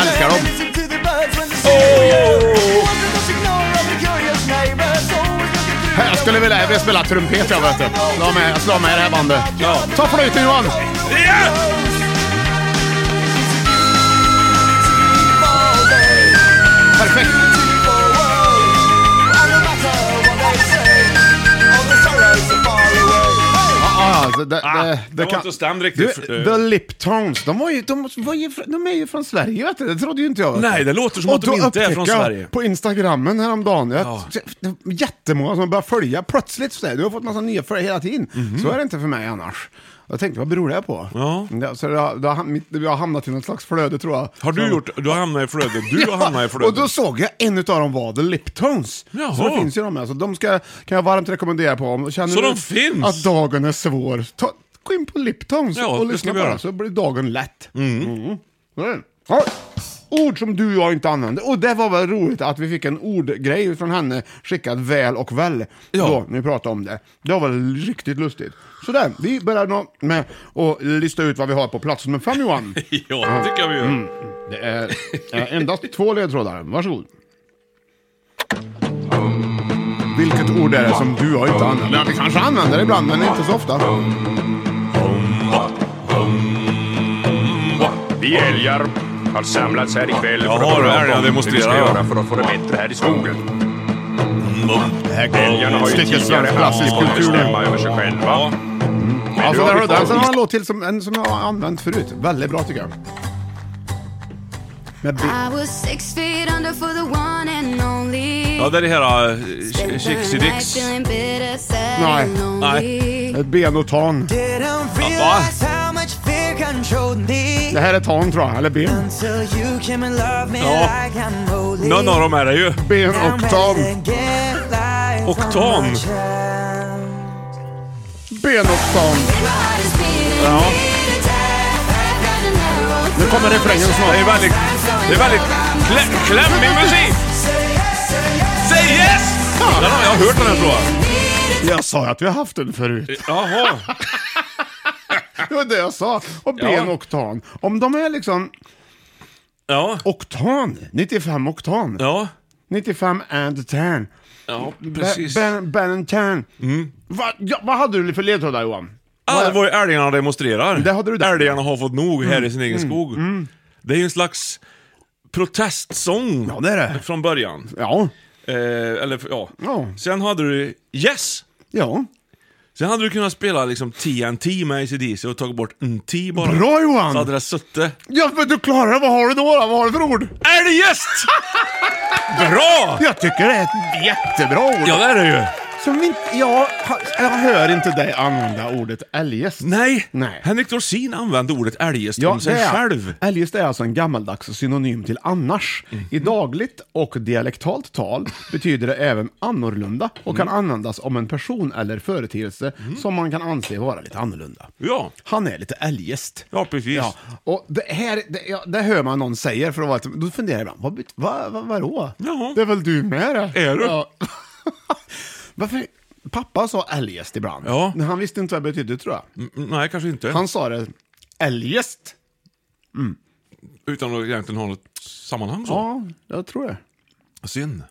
[SPEAKER 4] Älskar dem!
[SPEAKER 2] Oh. Här, Jag skulle vilja vilja spela trumpet jag vet du. Slå med, slå med det här bandet.
[SPEAKER 3] Ja.
[SPEAKER 2] Ta flöjten Johan.
[SPEAKER 3] Ja!
[SPEAKER 2] Perfekt. Ja, ja, det, det,
[SPEAKER 3] Ah,
[SPEAKER 2] det,
[SPEAKER 3] jag var inte stämd riktigt. eh.
[SPEAKER 2] Du, The Liptones, de, var ju, de, var ju, fr- de är ju från Sverige vet du, det trodde ju inte jag. vet du.
[SPEAKER 3] Nej, det låter som
[SPEAKER 2] Och
[SPEAKER 3] att de
[SPEAKER 2] då
[SPEAKER 3] inte är från
[SPEAKER 2] upptäckte jag
[SPEAKER 3] Sverige.
[SPEAKER 2] på Instagrammen häromdagen, jag,
[SPEAKER 3] Ja.
[SPEAKER 2] det var jättemånga som började följa plötsligt. Så där. du har fått massa nya följare hela tiden. Så är det inte för mig annars. Jag tänkte, vad beror det på?
[SPEAKER 3] Mhm. Ja.
[SPEAKER 2] så det har, det har, ham- mitt- jag har hamnat i något slags flöde tror jag.
[SPEAKER 3] Har du
[SPEAKER 2] Så-
[SPEAKER 3] gjort... Du har hamnat i flödet. Du har hamnat i
[SPEAKER 2] och då
[SPEAKER 3] flödet.
[SPEAKER 2] såg jag en av dem var The Liptones.
[SPEAKER 3] Jaha.
[SPEAKER 2] Så det finns ju de här. Så de ska, kan jag varmt rekommendera på. Om, känner
[SPEAKER 3] Så
[SPEAKER 2] du
[SPEAKER 3] de finns?
[SPEAKER 2] Att dagen är svår. Ta, gå in på Liptones
[SPEAKER 3] Ja,
[SPEAKER 2] och
[SPEAKER 3] det
[SPEAKER 2] lyssna
[SPEAKER 3] ska vi
[SPEAKER 2] på
[SPEAKER 3] göra.
[SPEAKER 2] den så blir dagen lätt. Mm. Så är det. Ja. Ord som du och jag inte använder. Och det var väl roligt att vi fick en ordgrej från henne skickad väl och väl.
[SPEAKER 3] Ja.
[SPEAKER 2] Då, när vi pratade om det. Det var väl riktigt lustigt. Så där, vi börjar nå- med att lista ut vad vi har på plats nummer fem
[SPEAKER 3] [laughs]
[SPEAKER 2] Johan.
[SPEAKER 3] Ja, det tycker jag vi gör.
[SPEAKER 2] Det är eh, endast två ledtrådar. Varsågod. Vilket ord är det som du och jag inte använder? Vi kanske använder det ibland, men inte så ofta.
[SPEAKER 5] Vi älgar har samlats här ikväll
[SPEAKER 3] Jaha,
[SPEAKER 5] för att
[SPEAKER 3] då är
[SPEAKER 5] prata
[SPEAKER 3] jag
[SPEAKER 5] om hur vi ska
[SPEAKER 3] demonstrerar.
[SPEAKER 5] göra för att få det bättre här i skogen. Älgarna har ju
[SPEAKER 2] Stycket
[SPEAKER 5] tidigare
[SPEAKER 2] svensk klassisk
[SPEAKER 5] haft att
[SPEAKER 2] kultur.
[SPEAKER 5] bestämma över sig själva.
[SPEAKER 2] Alltså,
[SPEAKER 5] nu har
[SPEAKER 2] där har
[SPEAKER 5] vi
[SPEAKER 2] du den.
[SPEAKER 5] fått-
[SPEAKER 2] Sen har jag en låt till som, en som jag har använt förut. Väldigt bra tycker jag. Med bi-
[SPEAKER 6] I was six feet under for the one and only.
[SPEAKER 3] Ja, det är det här... eh,
[SPEAKER 6] Spent the
[SPEAKER 3] Chixi
[SPEAKER 6] night
[SPEAKER 3] Dix.
[SPEAKER 6] feeling bitter, sad
[SPEAKER 2] Nej.
[SPEAKER 6] and lonely.
[SPEAKER 2] ett ben och tan. Det här är tan tror jag, eller ben.
[SPEAKER 3] Någon av dem är det ju.
[SPEAKER 2] Ben och tan.
[SPEAKER 3] Oktan.
[SPEAKER 2] Ben och tan.
[SPEAKER 6] My heart is beating,
[SPEAKER 3] Ja.
[SPEAKER 6] beating time. I've got an arrow
[SPEAKER 2] Nu kommer refrängen snart.
[SPEAKER 3] Det är väldigt, det är väldigt klä, klämmig musik. Say yes! Den har jag hört den här tror jag.
[SPEAKER 2] Jag sa ju att vi har haft den förut.
[SPEAKER 3] Jaha.
[SPEAKER 2] Det var det jag sa. Och ben
[SPEAKER 3] Ja.
[SPEAKER 2] och tan. Om de är liksom
[SPEAKER 3] Ja.
[SPEAKER 2] oktan, 95 oktan.
[SPEAKER 3] Ja.
[SPEAKER 2] 95 and tan.
[SPEAKER 3] Ja,
[SPEAKER 2] Precis.
[SPEAKER 3] precis. Mm.
[SPEAKER 2] Ben, ben and tan. Va, ja, vad hade du för ledtrådar Johan?
[SPEAKER 3] Ja, det var ju älgarna demonstrerar.
[SPEAKER 2] Det hade du där. Mm.
[SPEAKER 3] Älgarna har fått nog här i sin egen skog. Det är ju en slags protestsång
[SPEAKER 2] Ja, det är det.
[SPEAKER 3] från början.
[SPEAKER 2] Ja.
[SPEAKER 3] Eh, eller ja.
[SPEAKER 2] Ja.
[SPEAKER 3] Sen hade du Yes!
[SPEAKER 2] Ja.
[SPEAKER 3] Sen hade du kunnat spela liksom TNT med ACDC och tagit bort NT bara.
[SPEAKER 2] Bra, Johan!
[SPEAKER 3] Så hade det suttit.
[SPEAKER 2] [laughs] Ja men du klarar det, vad har du då? då? Vad har du för ord?
[SPEAKER 3] Älgjäst! Bra!
[SPEAKER 2] Jag tycker det är ett jättebra ord.
[SPEAKER 3] Ja, det är det ju.
[SPEAKER 2] Som vi inte, jag, ha- jag hör inte dig använda ordet eljest.
[SPEAKER 3] Nej,
[SPEAKER 2] Nej.
[SPEAKER 3] Henrik Dorsin använde ordet eljest om sig
[SPEAKER 2] det är-
[SPEAKER 3] själv.
[SPEAKER 2] Eljest är alltså en gammaldags synonym till annars.
[SPEAKER 3] Mm.
[SPEAKER 2] I dagligt och dialektalt tal betyder det även annorlunda och kan
[SPEAKER 3] Mm.
[SPEAKER 2] användas om en person eller företeelse som man kan anse vara lite annorlunda.
[SPEAKER 3] Ja.
[SPEAKER 2] Han är lite eljest.
[SPEAKER 3] Ja, precis.
[SPEAKER 2] Ja, och det här det, ja, det hör man någon säga, för att vara, då funderar jag ibland, vad, bet- vad, vad, vadå?
[SPEAKER 3] Ja.
[SPEAKER 2] Det är väl du med det?
[SPEAKER 3] Är du?
[SPEAKER 2] Ja. [laughs] Varför? Pappa sa eljest ibland,
[SPEAKER 3] Ja.
[SPEAKER 2] men han visste inte vad det betydde tror jag.
[SPEAKER 3] Mm, Nej, kanske inte.
[SPEAKER 2] Han sa det eljest.
[SPEAKER 3] Utan att egentligen ha något sammanhang så.
[SPEAKER 2] Ja, jag tror det.
[SPEAKER 3] Synd.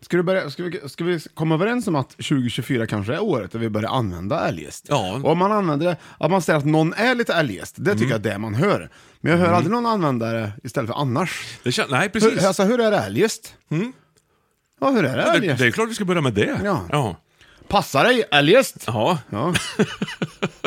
[SPEAKER 2] Ska, du börja, ska, vi, ska vi komma överens om att 2024 kanske är året där vi börjar använda eljest?
[SPEAKER 3] Ja. Mm.
[SPEAKER 2] Och om man använder det, att man säger att någon är lite eljest, det tycker jag är det man hör. Men jag hör aldrig någon använda det istället för annars.
[SPEAKER 3] Det kän- nej, precis. Mm.
[SPEAKER 2] Hur, alltså, hur är det eljest? Ja, hur är det
[SPEAKER 3] det,
[SPEAKER 2] eljest?
[SPEAKER 3] det är klart vi ska börja med det.
[SPEAKER 2] Ja.
[SPEAKER 3] Ja.
[SPEAKER 2] Passa dig eljest!
[SPEAKER 3] Ja.
[SPEAKER 2] Ja. [laughs]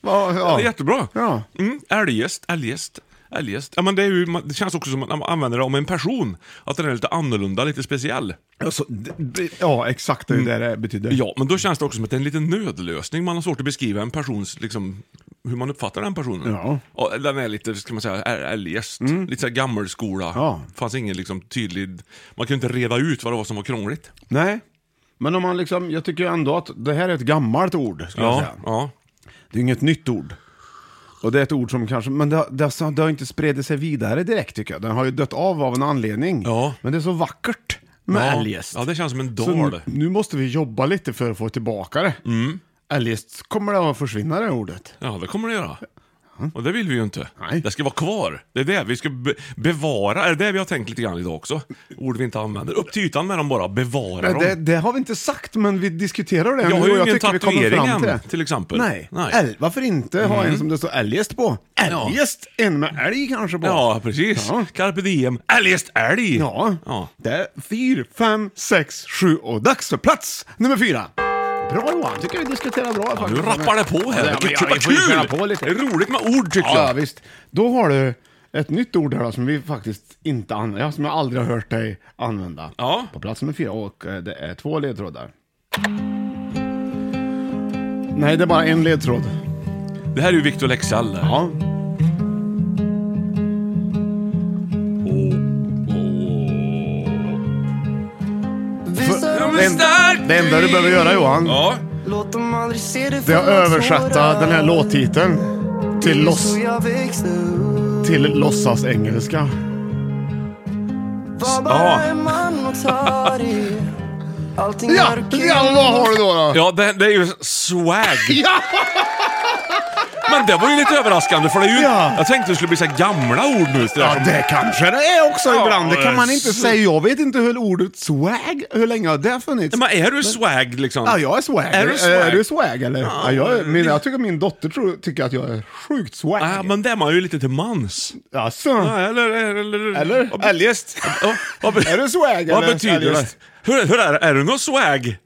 [SPEAKER 2] Va, ja.
[SPEAKER 3] Det är jättebra.
[SPEAKER 2] Ja.
[SPEAKER 3] Mm, eljest, eljest, eljest. Ja, men det, är ju, man- det känns också som att man använder det om en person. Att den är lite annorlunda, lite speciell.
[SPEAKER 2] Alltså, det- ja, exakt det är ju det det betyder.
[SPEAKER 3] Mm. Ja, men då känns det också som att det är en liten nödlösning. Man har svårt att beskriva en persons, liksom, hur man uppfattar den personen.
[SPEAKER 2] Ja. Mm.
[SPEAKER 3] Och den är lite, ska man säga, är eljest. Lite såhär gammelskola.
[SPEAKER 2] Ja.
[SPEAKER 3] Fanns ingen liksom tydlig... Man kunde inte reda ut vad det var som var krångligt.
[SPEAKER 2] Nej. Men om man liksom, jag tycker ändå att det här är ett gammalt ord, skulle jag säga.
[SPEAKER 3] ja.
[SPEAKER 2] Det är inget nytt ord. Och det är ett ord som kanske, men det, har- det, har- det har inte spridit sig vidare direkt tycker jag. Den har ju dött av av en anledning.
[SPEAKER 3] Ja.
[SPEAKER 2] Men det är så vackert med
[SPEAKER 3] ja.
[SPEAKER 2] eljest.
[SPEAKER 3] Ja, det Mm. känns som en
[SPEAKER 2] så
[SPEAKER 3] dal.
[SPEAKER 2] nu, nu måste vi jobba lite för att få tillbaka det. Eljest kommer det att försvinna det ordet.
[SPEAKER 3] Ja, det kommer det göra. Och det vill vi ju inte.
[SPEAKER 2] Nej.
[SPEAKER 3] Det ska vara kvar. Det är det vi ska be- bevara. Det är det vi har tänkt lite grann idag också. Ord vi inte använder. Upp till ytan med dem bara. Bevara
[SPEAKER 2] Men
[SPEAKER 3] dem.
[SPEAKER 2] det, det har vi inte sagt, men vi diskuterar det
[SPEAKER 3] Jag
[SPEAKER 2] nu
[SPEAKER 3] har ju
[SPEAKER 2] och
[SPEAKER 3] ingen
[SPEAKER 2] tycker vi kommer
[SPEAKER 3] tatuering
[SPEAKER 2] fram till
[SPEAKER 3] än,
[SPEAKER 2] det.
[SPEAKER 3] till exempel.
[SPEAKER 2] Nej.
[SPEAKER 3] Nej. Mm.
[SPEAKER 2] El, varför inte ha en som det står eljest på? Eljest, en med älg kanske på.
[SPEAKER 3] Ja, precis.
[SPEAKER 2] Ja.
[SPEAKER 3] Carpe diem. Eljest älg!
[SPEAKER 2] Ja.
[SPEAKER 3] ja.
[SPEAKER 2] Det är fyra, fem, sex, sju och dags för plats nummer fyra. Bra Johan, tycker vi diskuterar bra.
[SPEAKER 3] Ja, du rappar det på här.
[SPEAKER 2] Ja, men jag-
[SPEAKER 3] Vad
[SPEAKER 2] jag får ju
[SPEAKER 3] kul!
[SPEAKER 2] köra på lite.
[SPEAKER 3] Det är roligt med ord tycker
[SPEAKER 2] Ja,
[SPEAKER 3] jag.
[SPEAKER 2] visst. Då har du ett nytt ord här då, som vi faktiskt inte använder, ja, som jag aldrig har hört dig använda.
[SPEAKER 3] Ja.
[SPEAKER 2] På plats nummer fyra och eh, det är två ledtrådar. Nej, det är bara en ledtråd.
[SPEAKER 3] Det här är ju Victor Leksell. Ja.
[SPEAKER 2] Ja.
[SPEAKER 3] men stark
[SPEAKER 2] Det enda du behöver göra Johan,
[SPEAKER 3] Ja.
[SPEAKER 4] Låt dem aldrig se det
[SPEAKER 2] det är att översätta den här låttiteln till, loss, till låtsas engelska.
[SPEAKER 3] Ja,
[SPEAKER 2] Ja, ja vad har du då? då?
[SPEAKER 3] ja det, det är ju swag.
[SPEAKER 2] [laughs] Ja!
[SPEAKER 3] Men det var ju lite överraskande för det är ju...
[SPEAKER 2] Ja.
[SPEAKER 3] Jag tänkte det skulle bli så här gamla ord nu. så där
[SPEAKER 2] Ja,
[SPEAKER 3] som-
[SPEAKER 2] det kanske det är också
[SPEAKER 3] Ja, eh,
[SPEAKER 2] ibland. Det kan man inte
[SPEAKER 3] s-
[SPEAKER 2] säga. Jag vet inte hur ordet swag, hur länge har det funnits?
[SPEAKER 3] Nej, Men är du swag liksom?
[SPEAKER 2] Ja, jag är swag.
[SPEAKER 3] Är du swag?
[SPEAKER 2] Är du swag eller? Ja, jag, är- min, jag tycker min dotter tror, tycker att jag är sjukt swag.
[SPEAKER 3] Ja, men det är man ju lite till mans.
[SPEAKER 2] Alltså,
[SPEAKER 3] Ja, eller... Eller?
[SPEAKER 2] Eller?
[SPEAKER 3] Vad be-
[SPEAKER 2] Eljest.
[SPEAKER 3] Ja, vad be-
[SPEAKER 2] Är du swag
[SPEAKER 3] Vad
[SPEAKER 2] eller?
[SPEAKER 3] betyder det?
[SPEAKER 2] Eljest.
[SPEAKER 3] Hur, hur är det? Är du någon swag?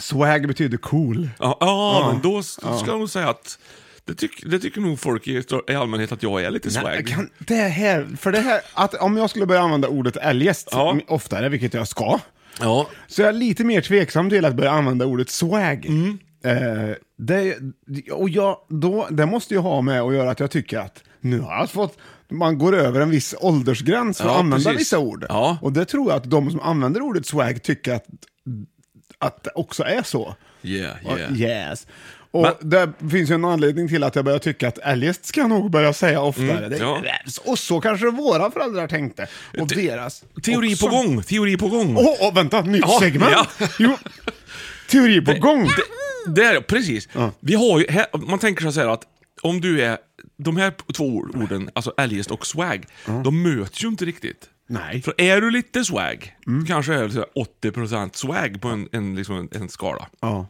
[SPEAKER 2] swag betyder cool.
[SPEAKER 3] Ja, ja, men då s- ska jag nog säga att det, tyck, det tycker nog folk i, i allmänhet att jag är lite swag.
[SPEAKER 2] Jag Kan, det här, för det här, att om jag skulle börja använda ordet eljest
[SPEAKER 3] Ja.
[SPEAKER 2] m- oftare, vilket jag ska,
[SPEAKER 3] Ja.
[SPEAKER 2] så jag är lite mer tveksam till att börja använda ordet swag.
[SPEAKER 3] Mm.
[SPEAKER 2] Eh, det, och jag, då, det måste ju ha med att göra att jag tycker att nu har jag fått, man går över en viss åldersgräns för
[SPEAKER 3] Ja,
[SPEAKER 2] att använda
[SPEAKER 3] precis.
[SPEAKER 2] vissa ord.
[SPEAKER 3] Ja.
[SPEAKER 2] Och det tror jag att de som använder ordet swag tycker att, att det också är så.
[SPEAKER 3] Yeah,
[SPEAKER 2] Och-
[SPEAKER 3] yeah.
[SPEAKER 2] Yes. Och det finns ju en anledning till att jag börjar tycka att eljest ska jag nog börja säga oftare.
[SPEAKER 3] Mm,
[SPEAKER 2] Det-
[SPEAKER 3] ja.
[SPEAKER 2] Och så kanske våra föräldrar tänkte. Och deras.
[SPEAKER 3] Teori
[SPEAKER 2] också.
[SPEAKER 3] på gång, teori på gång.
[SPEAKER 2] Åh, åh, vänta, nytt
[SPEAKER 3] Ja,
[SPEAKER 2] segment!
[SPEAKER 3] ja.
[SPEAKER 2] Jo, teori på gång!
[SPEAKER 3] Det är precis. Vi har ju, här, man tänker sig så här att om du är, de här två ord- orden, alltså eljest och swag, de möts ju inte riktigt.
[SPEAKER 2] Nej. Mm.
[SPEAKER 3] För är du lite swag, du kanske är så här 80% swag på en, en, liksom en, en skala.
[SPEAKER 2] Ja.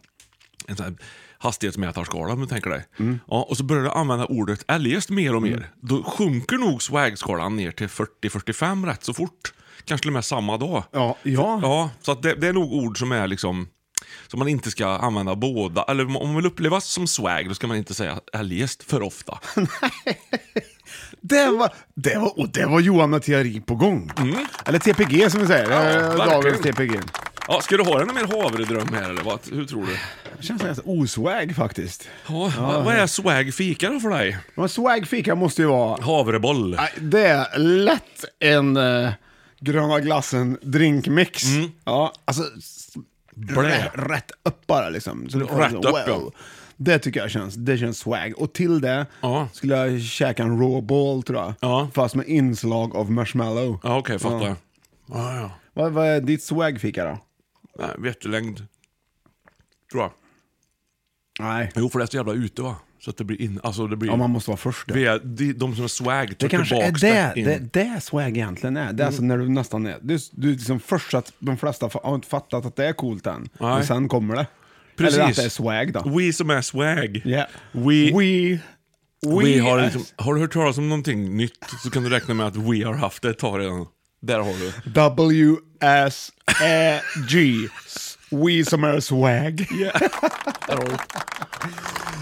[SPEAKER 3] En sån här hastighetsmätarskala om du tänker dig.
[SPEAKER 2] Mm.
[SPEAKER 3] Ja, och så börjar du använda ordet eljest mer och mer. Då sjunker nog swag-skalan ner till 40-45 rätt så fort. Kanske till och med samma dag.
[SPEAKER 2] Ja, ja.
[SPEAKER 3] Ja, så att det, det är nog ord som är liksom som man inte ska använda [laughs] båda. Eller om man vill upplevas som swag, då ska man inte säga eljest för ofta.
[SPEAKER 2] Det var, det var, och det var Johan med teori på gång. Eller TPG som vi säger. Eh, Dagens
[SPEAKER 3] Mm. verkligen.
[SPEAKER 2] TPG.
[SPEAKER 3] Ja, ska du ha en mer havredröm här eller vad? Hur tror du?
[SPEAKER 2] Det känns ganska oswag faktiskt.
[SPEAKER 3] Ja, vad- Vad är swag fika då för dig?
[SPEAKER 2] Men swag fika måste ju vara...
[SPEAKER 3] Havreboll.
[SPEAKER 2] Nej, Det är lätt en eh, gröna glassen drinkmix. Ja, alltså s-
[SPEAKER 3] Mm. Blä.
[SPEAKER 2] rä- rätt upp bara liksom. Så du får
[SPEAKER 3] Rätt
[SPEAKER 2] liksom,
[SPEAKER 3] upp, ja.
[SPEAKER 2] Det tycker jag känns, det känns swag. Och till det
[SPEAKER 3] Ja.
[SPEAKER 2] skulle jag käka en raw ball tror jag.
[SPEAKER 3] Ja.
[SPEAKER 2] Fast med inslag av marshmallow.
[SPEAKER 3] Ja, okej, fattar. Ja. Ja, ja.
[SPEAKER 2] Vad, vad är ditt swag fika då?
[SPEAKER 3] Nej, vetelängd. Tror jag.
[SPEAKER 2] Nej.
[SPEAKER 3] Jo, för det är så jävla ute va? Så att det blir in... Alltså det blir...
[SPEAKER 2] Ja, man måste vara först. ja.
[SPEAKER 3] vi är, de, de som är swag tar
[SPEAKER 2] Det kanske är
[SPEAKER 3] tillbaks
[SPEAKER 2] det,
[SPEAKER 3] in. Mm.
[SPEAKER 2] det, det swag egentligen är. Det är alltså när du nästan är, du, du är liksom först att de flesta fa- har inte fattat att det är coolt än. Men sen kommer det.
[SPEAKER 3] Precis.
[SPEAKER 2] Eller att det är swag då.
[SPEAKER 3] We som är swag.
[SPEAKER 2] Yeah.
[SPEAKER 3] We, we,
[SPEAKER 2] we,
[SPEAKER 3] har, liksom, har du hört talas om någonting nytt så kan du räkna med att we har haft det ett tag redan. Där har du.
[SPEAKER 2] W-S-A-G. We som är swag.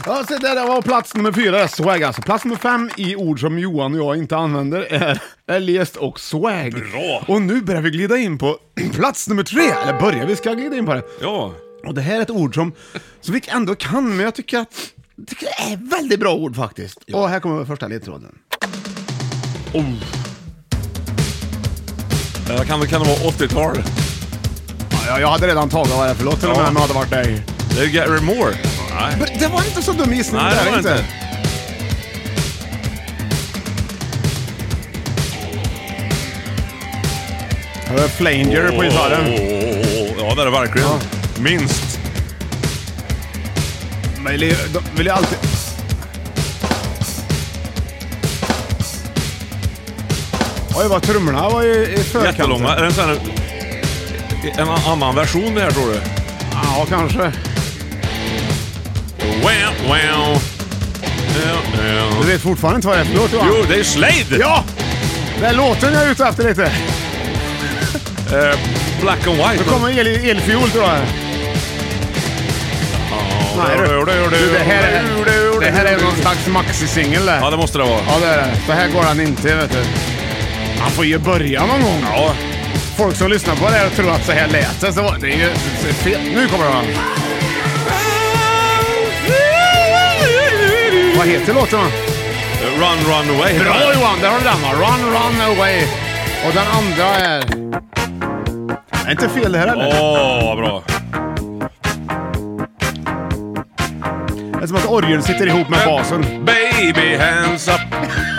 [SPEAKER 2] Ja, så där var plats nummer fyra, swag alltså. Plats nummer fem i ord som Johan och jag inte använder är eljest och swag.
[SPEAKER 3] Bra.
[SPEAKER 2] Och nu börjar vi glida in på [clears throat] plats nummer tre. Eller börjar vi ska glida in på det.
[SPEAKER 3] Ja.
[SPEAKER 2] Och det här är ett ord som, som vi ändå kan, men jag tycker att jag tycker det är ett väldigt bra ord faktiskt. Och här kommer första ledtråden.
[SPEAKER 3] Eh, Kan, kan det vara 80-tal?
[SPEAKER 2] Ja, jag hade redan tagit vad det är för låt till och med om jag hade varit dig.
[SPEAKER 3] Det är Gary Moore. Nej,
[SPEAKER 2] Men Det var inte så dum gissning
[SPEAKER 3] Nej
[SPEAKER 2] där,
[SPEAKER 3] det var inte.
[SPEAKER 2] Här är Flanger på gitarren.
[SPEAKER 3] Åh, Ja, det är det verkligen.
[SPEAKER 2] Ja.
[SPEAKER 3] Minst.
[SPEAKER 2] Men vill ju- de vill ju alltid... Oj, vad trummorna var ju i förkanten.
[SPEAKER 3] Jättelånga. Är det en, sån här, en annan version det här tror du?
[SPEAKER 2] Ja, kanske.
[SPEAKER 3] Wow, wow. Ja,
[SPEAKER 2] Du
[SPEAKER 3] ja.
[SPEAKER 2] vet fortfarande inte vad det är för låt, Johan.
[SPEAKER 3] Jo, det är Slade!
[SPEAKER 2] Ja! Det är låten jag är ute efter lite.
[SPEAKER 3] Eh, black and white.
[SPEAKER 2] Nu kommer el, elfiol tror jag. Nej, du. Du, det, här är, det här är någon slags maxisingel det.
[SPEAKER 3] Ja, det måste det vara.
[SPEAKER 2] Ja, det är det. Så här går han inte, vet du. Han får ju börja någon gång.
[SPEAKER 3] Ja.
[SPEAKER 2] Folk som lyssnar på det här och tror att så här lät det, så var- det är ju det är fel. Nu kommer han. Vad heter låten? va?
[SPEAKER 3] Run, run away.
[SPEAKER 2] Bra Johan, där har du den va? Run, run away. Och den andra är... Det är inte fel det här
[SPEAKER 3] Åh,
[SPEAKER 2] heller.
[SPEAKER 3] vad bra.
[SPEAKER 2] Det är som att orgeln sitter ihop med basen.
[SPEAKER 3] Baby hands up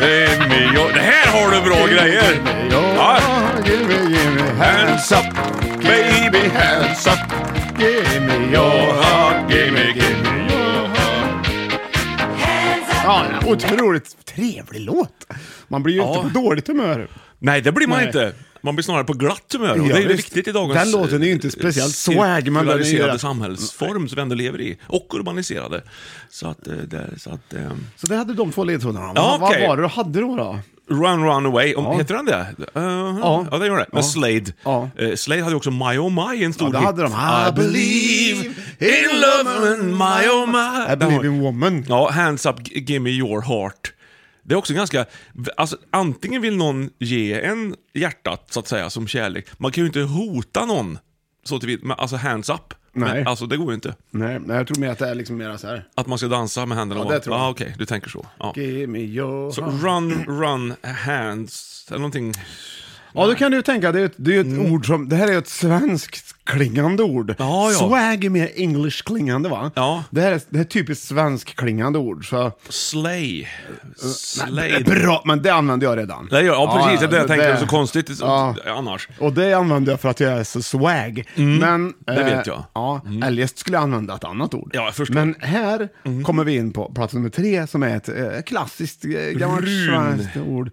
[SPEAKER 3] in me. Det här har du bra grejer!
[SPEAKER 2] Ja, give me, give me,
[SPEAKER 3] Hands up, baby hands up.
[SPEAKER 2] give me
[SPEAKER 3] Your
[SPEAKER 2] your
[SPEAKER 3] heart, give me, give me your heart.
[SPEAKER 2] Ja, en otroligt trevlig låt. Man blir ju
[SPEAKER 3] Ja.
[SPEAKER 2] inte på dåligt humör.
[SPEAKER 3] Nej, det blir man
[SPEAKER 2] Nej.
[SPEAKER 3] inte. Man blir snarare på glatt humör. och
[SPEAKER 2] Ja,
[SPEAKER 3] det är ju
[SPEAKER 2] visst.
[SPEAKER 3] viktigt i dagens... eh,
[SPEAKER 2] Den låten är ju inte speciellt swag, men den är ju
[SPEAKER 3] ...cirkulariserade
[SPEAKER 2] rätt-
[SPEAKER 3] samhällsform som vi ändå lever i. Och urbaniserade. Så att... eh, Det, så att ehm,
[SPEAKER 2] Så det hade de två ledtrådarna.
[SPEAKER 3] Ja,
[SPEAKER 2] vad,
[SPEAKER 3] okej.
[SPEAKER 2] vad var det du hade då? då?
[SPEAKER 3] Run Run Away, om, heter den det? Uh, ja.
[SPEAKER 2] Ja.
[SPEAKER 3] det gör det. Med
[SPEAKER 2] Ja.
[SPEAKER 3] Slade.
[SPEAKER 2] Ja.
[SPEAKER 3] Eh, Slade hade ju också My Oh My, en stor
[SPEAKER 2] Ja, det
[SPEAKER 3] hit.
[SPEAKER 2] hade de. I believe
[SPEAKER 3] in love and my oh my.
[SPEAKER 2] I believe in woman.
[SPEAKER 3] Ja, Hands Up, G- Give Me Your Heart. Det är också ganska, alltså antingen vill någon ge en hjärtat så att säga som kärlek. Man kan ju inte hota någon så till vid, men alltså hands up.
[SPEAKER 2] Nej.
[SPEAKER 3] Men, alltså det går ju inte.
[SPEAKER 2] Nej, nej, jag tror mer att det är liksom mera så här.
[SPEAKER 3] Att man ska dansa med händerna.
[SPEAKER 2] Ja,
[SPEAKER 3] och-
[SPEAKER 2] det tror jag.
[SPEAKER 3] Ah, Okej, du tänker så. Ja.
[SPEAKER 2] Give me your...
[SPEAKER 3] Så run, run, hands, eller någonting.
[SPEAKER 2] Ja, då kan du ju tänka, det är ju ett, det är ju ett ord som, det här är ju ett svenskt klingande ord.
[SPEAKER 3] Mm. Ja, ja.
[SPEAKER 2] Swag är mer English klingande va?
[SPEAKER 3] Ja.
[SPEAKER 2] Det här är, det här är typiskt svensk klingande ord. Så,
[SPEAKER 3] Slay.
[SPEAKER 2] det
[SPEAKER 3] Slay.
[SPEAKER 2] är bra, men det använde jag redan.
[SPEAKER 3] Nej, ja, ja, precis. det är det jag tänkte. Det är så konstigt
[SPEAKER 2] Ja.
[SPEAKER 3] annars.
[SPEAKER 2] Och det använder jag för att jag är så swag. Men,
[SPEAKER 3] Mm.
[SPEAKER 2] eh,
[SPEAKER 3] det vet jag. Mm.
[SPEAKER 2] Ja, Eljest skulle jag använda ett annat ord.
[SPEAKER 3] Ja, jag förstår. Mm.
[SPEAKER 2] Men här kommer vi in på plats nummer tre som är ett eh, klassiskt eh, gammalt
[SPEAKER 3] Run.
[SPEAKER 2] svenskt ord.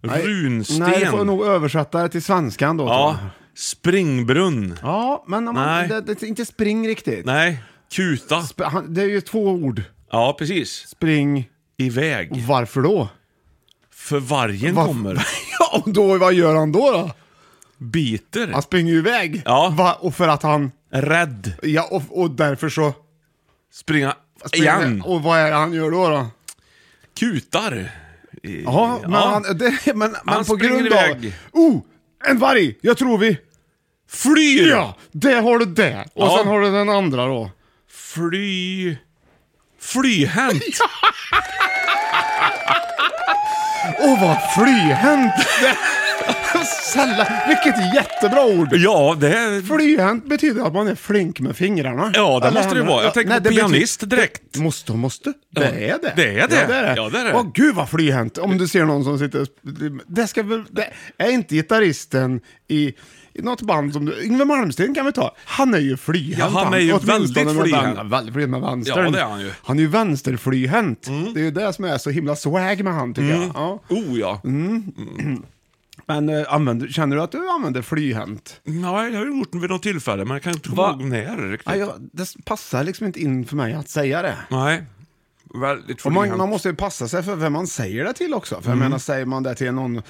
[SPEAKER 2] Nej,
[SPEAKER 3] Runsten.
[SPEAKER 2] Nej, jag får nog översätta det till svenskan då. tror
[SPEAKER 3] Ja.
[SPEAKER 2] jag.
[SPEAKER 3] Springbrunn.
[SPEAKER 2] ja men om
[SPEAKER 3] Nej.
[SPEAKER 2] man, det, det, inte spring riktigt.
[SPEAKER 3] Nej. Kuta.
[SPEAKER 2] Sp- han- Det är ju två ord.
[SPEAKER 3] Ja, precis.
[SPEAKER 2] Spring,
[SPEAKER 3] Iväg.
[SPEAKER 2] varför då?
[SPEAKER 3] För vargen
[SPEAKER 2] Varför-
[SPEAKER 3] kommer.
[SPEAKER 2] [laughs] ja, Alltså- och då, vad gör han då? då?
[SPEAKER 3] Biter.
[SPEAKER 2] Han springer ju iväg.
[SPEAKER 3] Ja.
[SPEAKER 2] Va, och för att han,
[SPEAKER 3] Rädd.
[SPEAKER 2] ja, och, och därför så
[SPEAKER 3] Springa
[SPEAKER 2] Springer-
[SPEAKER 3] igen.
[SPEAKER 2] Och vad är det han gör då? då?
[SPEAKER 3] Kutar. eh,
[SPEAKER 2] Ja, men, Han, det, men, men på
[SPEAKER 3] springer
[SPEAKER 2] grund
[SPEAKER 3] iväg.
[SPEAKER 2] av... Oh! En varg! Jag tror vi...
[SPEAKER 3] Flyr!
[SPEAKER 2] Ja! Där har du det! Och
[SPEAKER 3] Ja.
[SPEAKER 2] sen har du den andra då.
[SPEAKER 3] Fly... Flyhänt!
[SPEAKER 2] Åh, vad flyhänt! Det- [laughs] Sällan. Vilket jättebra ord!
[SPEAKER 3] Ja, det är...
[SPEAKER 2] Flyhänt betyder att man är flink med fingrarna.
[SPEAKER 3] Ja, det
[SPEAKER 2] Eller
[SPEAKER 3] måste det
[SPEAKER 2] händerna.
[SPEAKER 3] vara. Jag
[SPEAKER 2] Ja,
[SPEAKER 3] tänker
[SPEAKER 2] nej,
[SPEAKER 3] på
[SPEAKER 2] det betyder-
[SPEAKER 3] pianist direkt.
[SPEAKER 2] Måste och måste. Det är det.
[SPEAKER 3] det är det.
[SPEAKER 2] Ja, det är det.
[SPEAKER 3] Ja, det är det.
[SPEAKER 2] Åh, gud vad flyhänt. Om du ser någon som sitter... och sp- Det ska väl... Det är inte gitarristen i, i något band som du... Yngwie Malmsteen kan vi ta. Han är ju flyhänt.
[SPEAKER 3] Ja, han är ju
[SPEAKER 2] Åtminstone
[SPEAKER 3] väldigt
[SPEAKER 2] med vän-
[SPEAKER 3] flyhänt.
[SPEAKER 2] Väldigt flyhänt med vänstern.
[SPEAKER 3] Ja, det är han ju. Mm.
[SPEAKER 2] Han är ju vänsterflyhänt. Det är ju det som är så himla swag med han, tycker jag. Ja.
[SPEAKER 3] Oh ja.
[SPEAKER 2] Men eh, använder, känner du att du använder flyhänt?
[SPEAKER 3] Nej, jag har gjort det vid något tillfälle, men jag kan inte
[SPEAKER 2] Va?
[SPEAKER 3] komma ihåg när riktigt.
[SPEAKER 2] Ja, jag, det passar liksom inte in för mig att säga det.
[SPEAKER 3] Nej. Väldigt
[SPEAKER 2] Och man,
[SPEAKER 3] flyhänt.
[SPEAKER 2] man måste ju passa sig för vem man säger det till också. För jag
[SPEAKER 3] Mm.
[SPEAKER 2] menar, säger man det till någon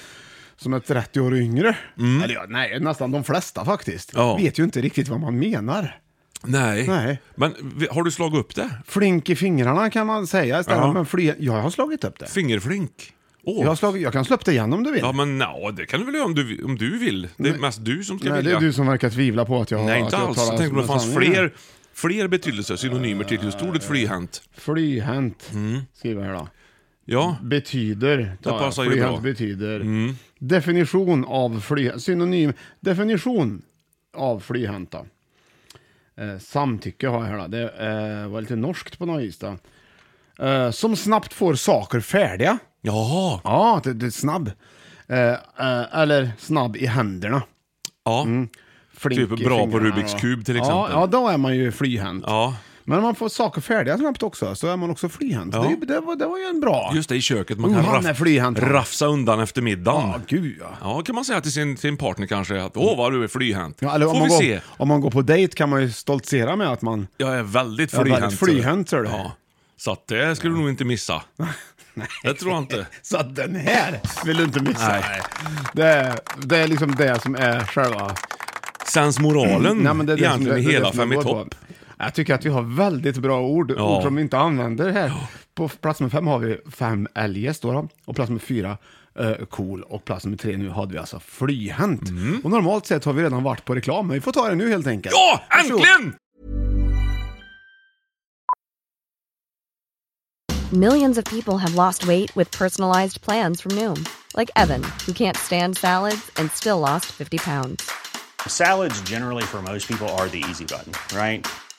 [SPEAKER 2] som är 30 år yngre, eller ja, nej, nästan de flesta faktiskt,
[SPEAKER 3] Mm. Ja.
[SPEAKER 2] vet ju inte riktigt vad man menar.
[SPEAKER 3] Nej.
[SPEAKER 2] Nej.
[SPEAKER 3] Men vi- har du slagit upp det?
[SPEAKER 2] Flink i fingrarna kan man säga istället,
[SPEAKER 3] Ja.
[SPEAKER 2] men fly, jag har slagit upp det.
[SPEAKER 3] Fingerflink? Åh.
[SPEAKER 2] Jag, har slagit, jag kan slå upp det igen om du vill.
[SPEAKER 3] Ja, men no, det kan du väl göra om du, om du vill. Det är mest du som ska
[SPEAKER 2] nej, det
[SPEAKER 3] vilja.
[SPEAKER 2] är du som verkar tvivla på att jag
[SPEAKER 3] Nej,
[SPEAKER 2] att
[SPEAKER 3] inte
[SPEAKER 2] jag
[SPEAKER 3] alls. Jag
[SPEAKER 2] talar
[SPEAKER 3] tänkte om det
[SPEAKER 2] med
[SPEAKER 3] fanns
[SPEAKER 2] sanningen.
[SPEAKER 3] fler, fler betydelser, synonymer till just ordet flyhänt.
[SPEAKER 2] Flyhänt,
[SPEAKER 3] Mm.
[SPEAKER 2] skriver jag här då.
[SPEAKER 3] Ja.
[SPEAKER 2] betyder. tar jag.
[SPEAKER 3] passar ju
[SPEAKER 2] flyhänt
[SPEAKER 3] bra. Mm.
[SPEAKER 2] betyder. Definition av flyhänt. Synonym. Definition av flyhänt då. Eh, samtycke har jag här då. Det eh, var lite norskt på något vis då. Eh, som snabbt får saker färdiga.
[SPEAKER 3] Jaha.
[SPEAKER 2] Ja, det, det är snabb. Eh, eh, eller snabb i händerna.
[SPEAKER 3] Ja.
[SPEAKER 2] Mm. Flink
[SPEAKER 3] Typ
[SPEAKER 2] i
[SPEAKER 3] bra på
[SPEAKER 2] fingrarna
[SPEAKER 3] Rubiks
[SPEAKER 2] då.
[SPEAKER 3] kub till
[SPEAKER 2] Ja,
[SPEAKER 3] exempel.
[SPEAKER 2] ja, då är man ju flyhänt.
[SPEAKER 3] Ja.
[SPEAKER 2] Men om man får saker färdiga snabbt också så är man också flyhänt.
[SPEAKER 3] Ja.
[SPEAKER 2] Det, är ju- det, var, det var ju en bra...
[SPEAKER 3] Just det, i köket. Man
[SPEAKER 2] Oh,
[SPEAKER 3] kan
[SPEAKER 2] han
[SPEAKER 3] raff-
[SPEAKER 2] är flyhänt, han.
[SPEAKER 3] rafsa undan efter middagen.
[SPEAKER 2] Ja, gud ja.
[SPEAKER 3] Ja, kan man säga till sin, sin partner kanske att åh vad du är flyhänt.
[SPEAKER 2] Ja, eller om,
[SPEAKER 3] Får
[SPEAKER 2] man
[SPEAKER 3] vi
[SPEAKER 2] går,
[SPEAKER 3] se.
[SPEAKER 2] om man går på dejt kan man ju stoltsera med att man...
[SPEAKER 3] Jag är väldigt
[SPEAKER 2] Jag är
[SPEAKER 3] flyhänt.
[SPEAKER 2] väldigt flyhänt,
[SPEAKER 3] så
[SPEAKER 2] är det.
[SPEAKER 3] Ja. Så att det skulle du nog
[SPEAKER 2] [laughs]
[SPEAKER 3] inte missa. Det tror jag inte.
[SPEAKER 2] Så att den här vill du inte missa.
[SPEAKER 3] Nej.
[SPEAKER 2] Det, är, det är liksom det som är själva...
[SPEAKER 3] Sensmoralen
[SPEAKER 2] Nej, men det är det som-
[SPEAKER 3] egentligen
[SPEAKER 2] det-
[SPEAKER 3] i
[SPEAKER 2] det är
[SPEAKER 3] hela
[SPEAKER 2] det som
[SPEAKER 3] Fem i
[SPEAKER 2] jag går på.
[SPEAKER 3] topp.
[SPEAKER 2] Jag tycker att vi har väldigt bra ord,
[SPEAKER 3] Ja.
[SPEAKER 2] ord som vi inte använder här. På plats nummer fem har vi fem eljest då, då. och plats nummer fyra eh, cool och plats nummer tre nu hade vi alltså flyhänt. Och normalt sett har vi redan varit på reklam, men vi får ta det nu helt enkelt.
[SPEAKER 3] Mm. Ja,
[SPEAKER 2] Varsågod.
[SPEAKER 3] äntligen!
[SPEAKER 7] Millions of people have lost weight with personalized plans from Noom, like Evan, who can't stand salads and still lost 50 pounds.
[SPEAKER 8] Salads, generally, for most people, are the easy button, right?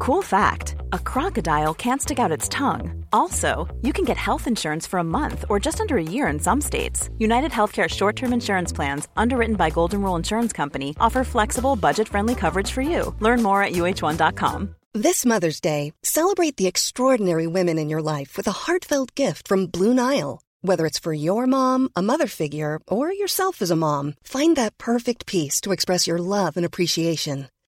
[SPEAKER 9] Cool fact a crocodile can't stick out its tongue. Also, you can get health insurance for a month or just under a year in some states. United Healthcare short term insurance plans, underwritten by Golden Rule Insurance Company, offer flexible, budget friendly coverage for you. Learn more at uh1.com.
[SPEAKER 10] This Mother's Day, celebrate the extraordinary women in your life with a heartfelt gift from Blue Nile. Whether it's for your mom, a mother figure, or yourself as a mom, find that perfect piece to express your love and appreciation.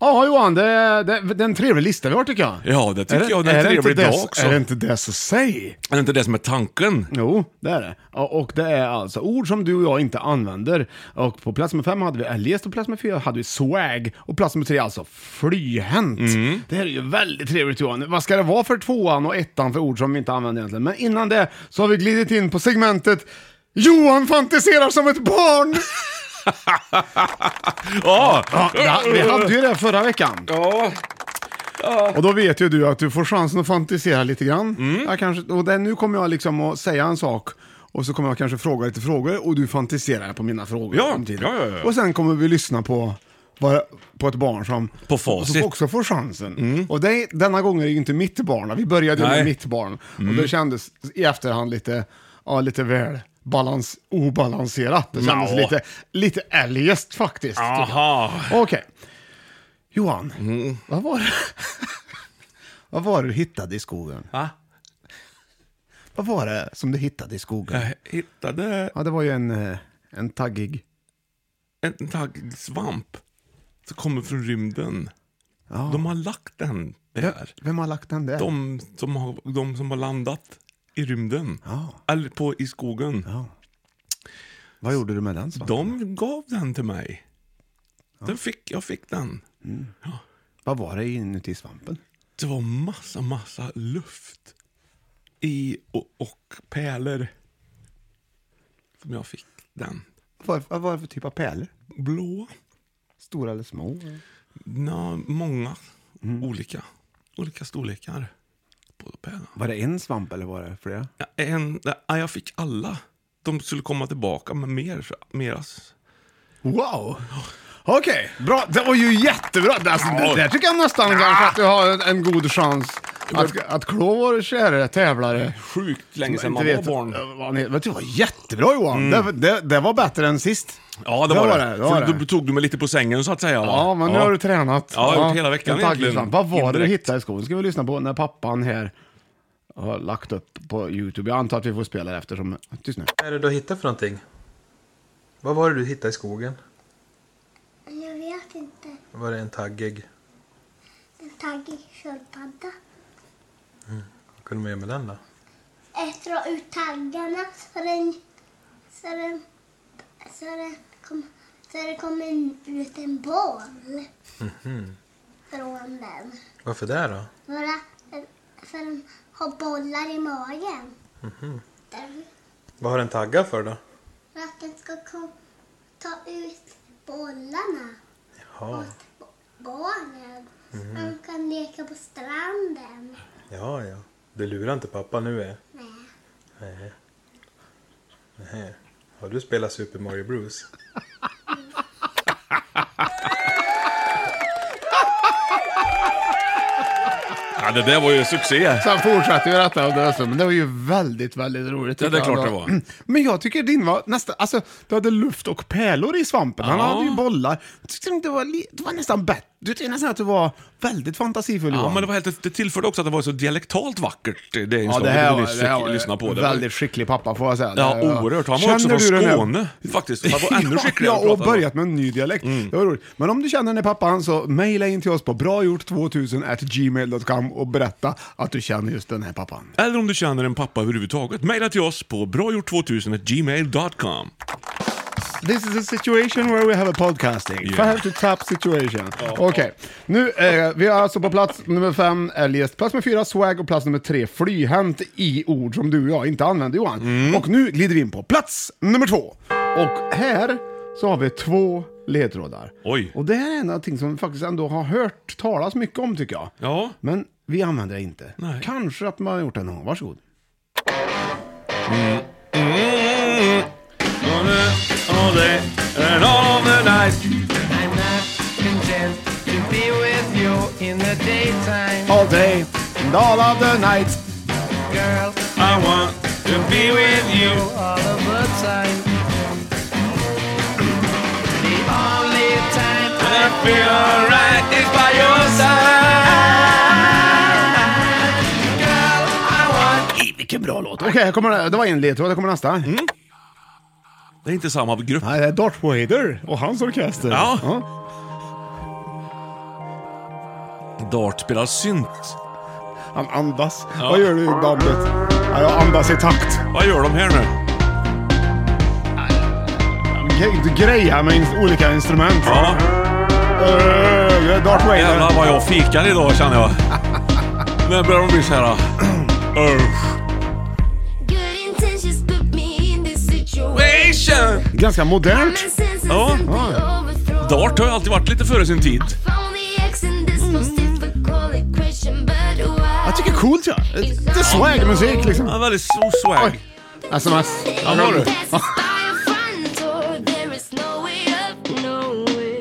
[SPEAKER 2] Ja Johan, det, det, det är en trevlig lista vi har tycker jag.
[SPEAKER 3] Ja, det tycker
[SPEAKER 2] det-
[SPEAKER 3] jag. Det är en
[SPEAKER 2] inte
[SPEAKER 3] trevlig
[SPEAKER 2] det-
[SPEAKER 3] dag också.
[SPEAKER 2] Är det
[SPEAKER 3] Är
[SPEAKER 2] inte det så säg?
[SPEAKER 3] det inte det som är tanken?
[SPEAKER 2] Jo, det är det. Ja, Och det är alltså ord som du och jag inte använder. Och på plats nummer fem hade vi eljest och plats nummer fyra hade vi swag. Och plats nummer tre alltså flyhänt.
[SPEAKER 3] Mm.
[SPEAKER 2] Det här är ju väldigt trevligt Johan. Vad ska det vara för tvåan och ettan för ord som vi inte använder egentligen? Men innan det så har vi glidit in på segmentet Johan fantiserar som ett barn!
[SPEAKER 3] Ja!
[SPEAKER 2] Ja, det- vi hade ju det förra veckan.
[SPEAKER 3] Ja.
[SPEAKER 2] Och då vet ju du att du får chansen att fantisera lite grann.
[SPEAKER 3] Mm.
[SPEAKER 2] Jag kanske, och där, nu kommer jag liksom att säga en sak och så kommer jag kanske fråga lite frågor och du fantiserar på mina frågor.
[SPEAKER 3] Ja,
[SPEAKER 2] samtidigt.
[SPEAKER 3] ja, ja, ja.
[SPEAKER 2] Och sen kommer vi lyssna på, vad- på ett barn som
[SPEAKER 3] På facit. Mm.
[SPEAKER 2] som också får chansen. Och det, denna gången är det ju inte mitt barn. Vi började ju
[SPEAKER 3] Nej.
[SPEAKER 2] med
[SPEAKER 3] Mm.
[SPEAKER 2] mitt barn och det kändes i efterhand lite, ja, lite väl balans, obalanserat. Det kändes
[SPEAKER 3] Nå.
[SPEAKER 2] lite, lite eljest faktiskt. tycker jag.
[SPEAKER 3] Aha.
[SPEAKER 2] Okej. Johan, vad var det? [laughs] vad var det du hittade i skogen?
[SPEAKER 3] Va?
[SPEAKER 2] Vad var det som du hittade i skogen?
[SPEAKER 3] Jag hittade
[SPEAKER 2] Ja, det var ju en, eh, en taggig.
[SPEAKER 3] en taggsvamp som kommer från rymden. De har lagt den där.
[SPEAKER 2] Vem har lagt den där?
[SPEAKER 3] De som har, de som har landat i rymden. Eller på, i skogen.
[SPEAKER 2] Vad gjorde du med den? svampen?
[SPEAKER 3] De gav den till mig. Den fick, jag fick den.
[SPEAKER 2] Vad var det inuti svampen?
[SPEAKER 3] Det var massa, massa luft i och, och pärlor. Som jag fick den.
[SPEAKER 2] Vad vad var det för typ av pärlor?
[SPEAKER 3] Blåa.
[SPEAKER 2] Stora eller små?
[SPEAKER 3] Nå, många olika. Olika storlekar på pärlorna.
[SPEAKER 2] Var det en svamp eller var det flera?
[SPEAKER 3] Ja, En, ja, jag fick alla. De skulle komma tillbaka med mer. Meras.
[SPEAKER 2] Wow! Okej, bra. Det var ju jättebra. Det, alltså, det där tycker jag nästan kanske att du har en, en god chans att, att klå vår kära tävlare.
[SPEAKER 3] Sjukt länge
[SPEAKER 2] Inte
[SPEAKER 3] sedan man var
[SPEAKER 2] vet-
[SPEAKER 3] barn. Mm.
[SPEAKER 2] vad ni- vet du, Det var jättebra Johan. Det, det, det var bättre än sist.
[SPEAKER 3] Ja, det, var, det.
[SPEAKER 2] var
[SPEAKER 3] För
[SPEAKER 2] det.
[SPEAKER 3] Då tog du mig lite på sängen så att säga. va?
[SPEAKER 2] Ja, men nu har du tränat.
[SPEAKER 3] Ja, jag har gjort hela veckan
[SPEAKER 2] en taggig
[SPEAKER 3] egentligen.
[SPEAKER 2] svamp. Vad var det du
[SPEAKER 3] Indirekt.
[SPEAKER 2] hittade i skogen? ska vi lyssna på när pappan här har lagt upp på YouTube. Jag antar att vi får spela det eftersom... Tyst nu.
[SPEAKER 11] Vad är det du har hittat för någonting? Vad var det du hittade i skogen?
[SPEAKER 12] Jag vet inte.
[SPEAKER 11] Var det en taggig?
[SPEAKER 12] En taggig sköldpadda.
[SPEAKER 11] Vad kunde man göra med den då?
[SPEAKER 12] Ett dra ut taggarna så den, så den, så den, kom, så det kom en, ut en boll
[SPEAKER 11] Mhm.
[SPEAKER 12] från den.
[SPEAKER 11] Varför det då?
[SPEAKER 12] Några, för den har bollar i magen.
[SPEAKER 11] Mhm.
[SPEAKER 12] Den,
[SPEAKER 11] Vad har den taggat för då?
[SPEAKER 12] för att den ska kom, ta ut bollarna
[SPEAKER 11] Ja,
[SPEAKER 12] åt barnen.
[SPEAKER 11] Mhm.
[SPEAKER 12] Man kan leka på stranden.
[SPEAKER 11] ja, ja. Du lurar inte pappa nu är.
[SPEAKER 12] Nej.
[SPEAKER 11] Nej. Nej. Har du spelat Super Mario Bros?
[SPEAKER 3] Ja, det där var ju succé.
[SPEAKER 2] Sen fortsatte vi detta under hösten, men det var ju väldigt, väldigt roligt.
[SPEAKER 3] Ja, det är
[SPEAKER 2] tycker jag
[SPEAKER 3] klart
[SPEAKER 2] ändå.
[SPEAKER 3] det var.
[SPEAKER 2] [clears throat] Men jag tycker din var nästan, alltså du hade luft och pärlor i svampen. Han
[SPEAKER 3] Ja.
[SPEAKER 2] hade ju bollar. Jag tyckte det var, li- det var nästan bättre. Du tyckte nästan att du var väldigt fantasifull
[SPEAKER 3] Ja,
[SPEAKER 2] Johan.
[SPEAKER 3] men det, var helt, det tillförde också att det var så dialektalt vackert, det inslaget
[SPEAKER 2] Ja, det här
[SPEAKER 3] du
[SPEAKER 2] var,
[SPEAKER 3] nyss
[SPEAKER 2] det här
[SPEAKER 3] fick
[SPEAKER 2] var
[SPEAKER 3] lyssna på. Det var-
[SPEAKER 2] väldigt skicklig pappa får jag säga.
[SPEAKER 3] Ja,
[SPEAKER 2] Det var-
[SPEAKER 3] oerhört. Han var också
[SPEAKER 2] Känner
[SPEAKER 3] från
[SPEAKER 2] du den här-
[SPEAKER 3] Skåne, faktiskt. Han var ännu skickligare
[SPEAKER 2] [laughs] Ja,
[SPEAKER 3] att
[SPEAKER 2] och
[SPEAKER 3] prata.
[SPEAKER 2] börjat med en ny dialekt.
[SPEAKER 3] Mm.
[SPEAKER 2] Det var roligt. Men om du känner den här pappan så mejla in till oss på bragjort2000gmail.com och berätta att du känner just den här pappan.
[SPEAKER 3] Eller om du känner en pappa överhuvudtaget, mejla till oss på bragjort2000gmail.com.
[SPEAKER 2] This is a situation where we have a podcasting. Five to top situation. Okej, nu eh, vi är alltså på plats nummer fem, eljest. Plats nummer fyra, swag och plats nummer tre, flyhänt i ord som du och jag inte använder Johan. Och nu glider vi in på plats nummer två. Och här så har vi två ledtrådar.
[SPEAKER 3] Oj.
[SPEAKER 2] Och det här är någonting som vi faktiskt ändå har hört talas mycket om tycker jag.
[SPEAKER 3] Ja.
[SPEAKER 2] Men vi använder det inte.
[SPEAKER 3] Nej.
[SPEAKER 2] Kanske att man har gjort det någon gång. Varsågod. All day and all of the night.
[SPEAKER 3] I want to be with you
[SPEAKER 4] all of the time. [clears throat] The only time I feel alright is by your side. Girl, I want
[SPEAKER 2] Vilken bra låt. Okej, här kommer det. Det var en ledtråd. Här kommer nästa.
[SPEAKER 3] Mm. Det är inte samma grupp.
[SPEAKER 2] Nej, det är Darth Vader och hans orkester.
[SPEAKER 3] Ja. Dart spelar synt.
[SPEAKER 2] Han andas.
[SPEAKER 3] Ja.
[SPEAKER 2] Vad gör du i bandet? Ja, jag andas i takt.
[SPEAKER 3] Vad gör de här nu?
[SPEAKER 2] Ge- Du grejar med ins- olika instrument.
[SPEAKER 3] Ja.
[SPEAKER 2] Eh, det är Darth Vader.
[SPEAKER 3] Jävlar vad jag fikar idag
[SPEAKER 2] [laughs]
[SPEAKER 3] känner jag. När börjar de bli så här... äh, Usch.
[SPEAKER 6] Good intentions put me in this situation.
[SPEAKER 2] Ganska modernt.
[SPEAKER 6] Common sense and
[SPEAKER 3] Ja.
[SPEAKER 6] something overthrown.
[SPEAKER 3] Dart har ju alltid varit lite före sin tid.
[SPEAKER 6] Found the X in this most difficult question, but why?
[SPEAKER 2] Jag tycker det är coolt ja. Det är swagmusik liksom.
[SPEAKER 3] Ja, väldigt so swag. Alltså,
[SPEAKER 2] Sms.
[SPEAKER 3] Ja, var du?
[SPEAKER 6] Passes by a front door, there is no way up, no way.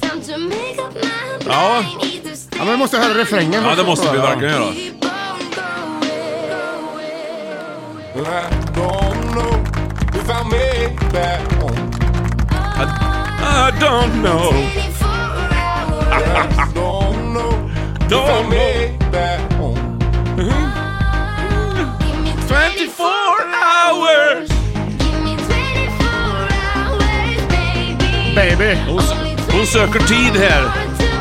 [SPEAKER 6] Time to make up my mind.
[SPEAKER 3] Ja.
[SPEAKER 6] Either stay
[SPEAKER 2] Ja, men vi måste höra refrängen.
[SPEAKER 3] Ja, det
[SPEAKER 2] först.
[SPEAKER 3] måste vi verkligen göra.
[SPEAKER 5] I
[SPEAKER 3] I don't know.
[SPEAKER 6] for a
[SPEAKER 4] girls don't know. Don't make that home. 24 hours.
[SPEAKER 3] Baby. Hon, hon söker tid här.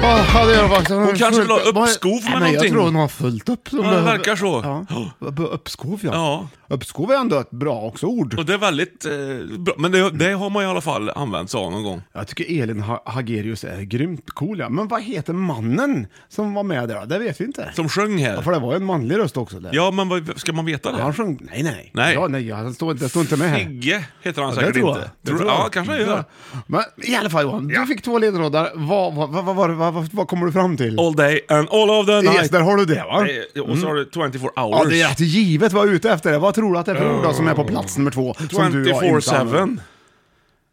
[SPEAKER 2] Ja, det gör jag faktiskt.
[SPEAKER 3] Hon kanske vill ha
[SPEAKER 2] Vad-
[SPEAKER 3] uppskov med
[SPEAKER 2] Nej, men
[SPEAKER 3] någonting.
[SPEAKER 2] Jag tror hon har fullt upp. som
[SPEAKER 3] Ja, det
[SPEAKER 2] behöver-
[SPEAKER 3] verkar så.
[SPEAKER 2] Ja. B- Uppskov ja. Uppskov är ändå ett bra också ord.
[SPEAKER 3] [laughs] Och det är väldigt eh, bra. Men det, det har man i alla fall använt sig av någon gång.
[SPEAKER 2] Jag tycker Elin ha- Hagerius är grymt cool. Ja. Men vad heter mannen som var med där? Det vet vi inte.
[SPEAKER 3] Som sjöng här.
[SPEAKER 2] Ja, för det var ju en manlig röst också. Där.
[SPEAKER 3] Ja, men vad, ska man veta det?
[SPEAKER 2] Han sjöng... Nej, nej.
[SPEAKER 3] Nej.
[SPEAKER 2] Ja, nej, han står, det står inte med här.
[SPEAKER 3] Figge heter han
[SPEAKER 2] Ja,
[SPEAKER 3] säkert
[SPEAKER 2] det tror jag.
[SPEAKER 3] inte.
[SPEAKER 2] Det
[SPEAKER 3] Tror,
[SPEAKER 2] tror jag.
[SPEAKER 3] ja, kanske han gör.
[SPEAKER 2] Men i alla fall Johan, du fick två ledtrådar. Vad, vad, vad, vad, vad, vad, vad, vad kommer du fram till?
[SPEAKER 3] All day and all of the night.
[SPEAKER 2] Yes, där har du det va?
[SPEAKER 3] Det- Och så har du 24 hours.
[SPEAKER 2] Ja, det är rätt givet vad jag är ute efter. Vad tror du att det är för ord då som är på plats nummer två? som du har inte använt?
[SPEAKER 3] 24-7.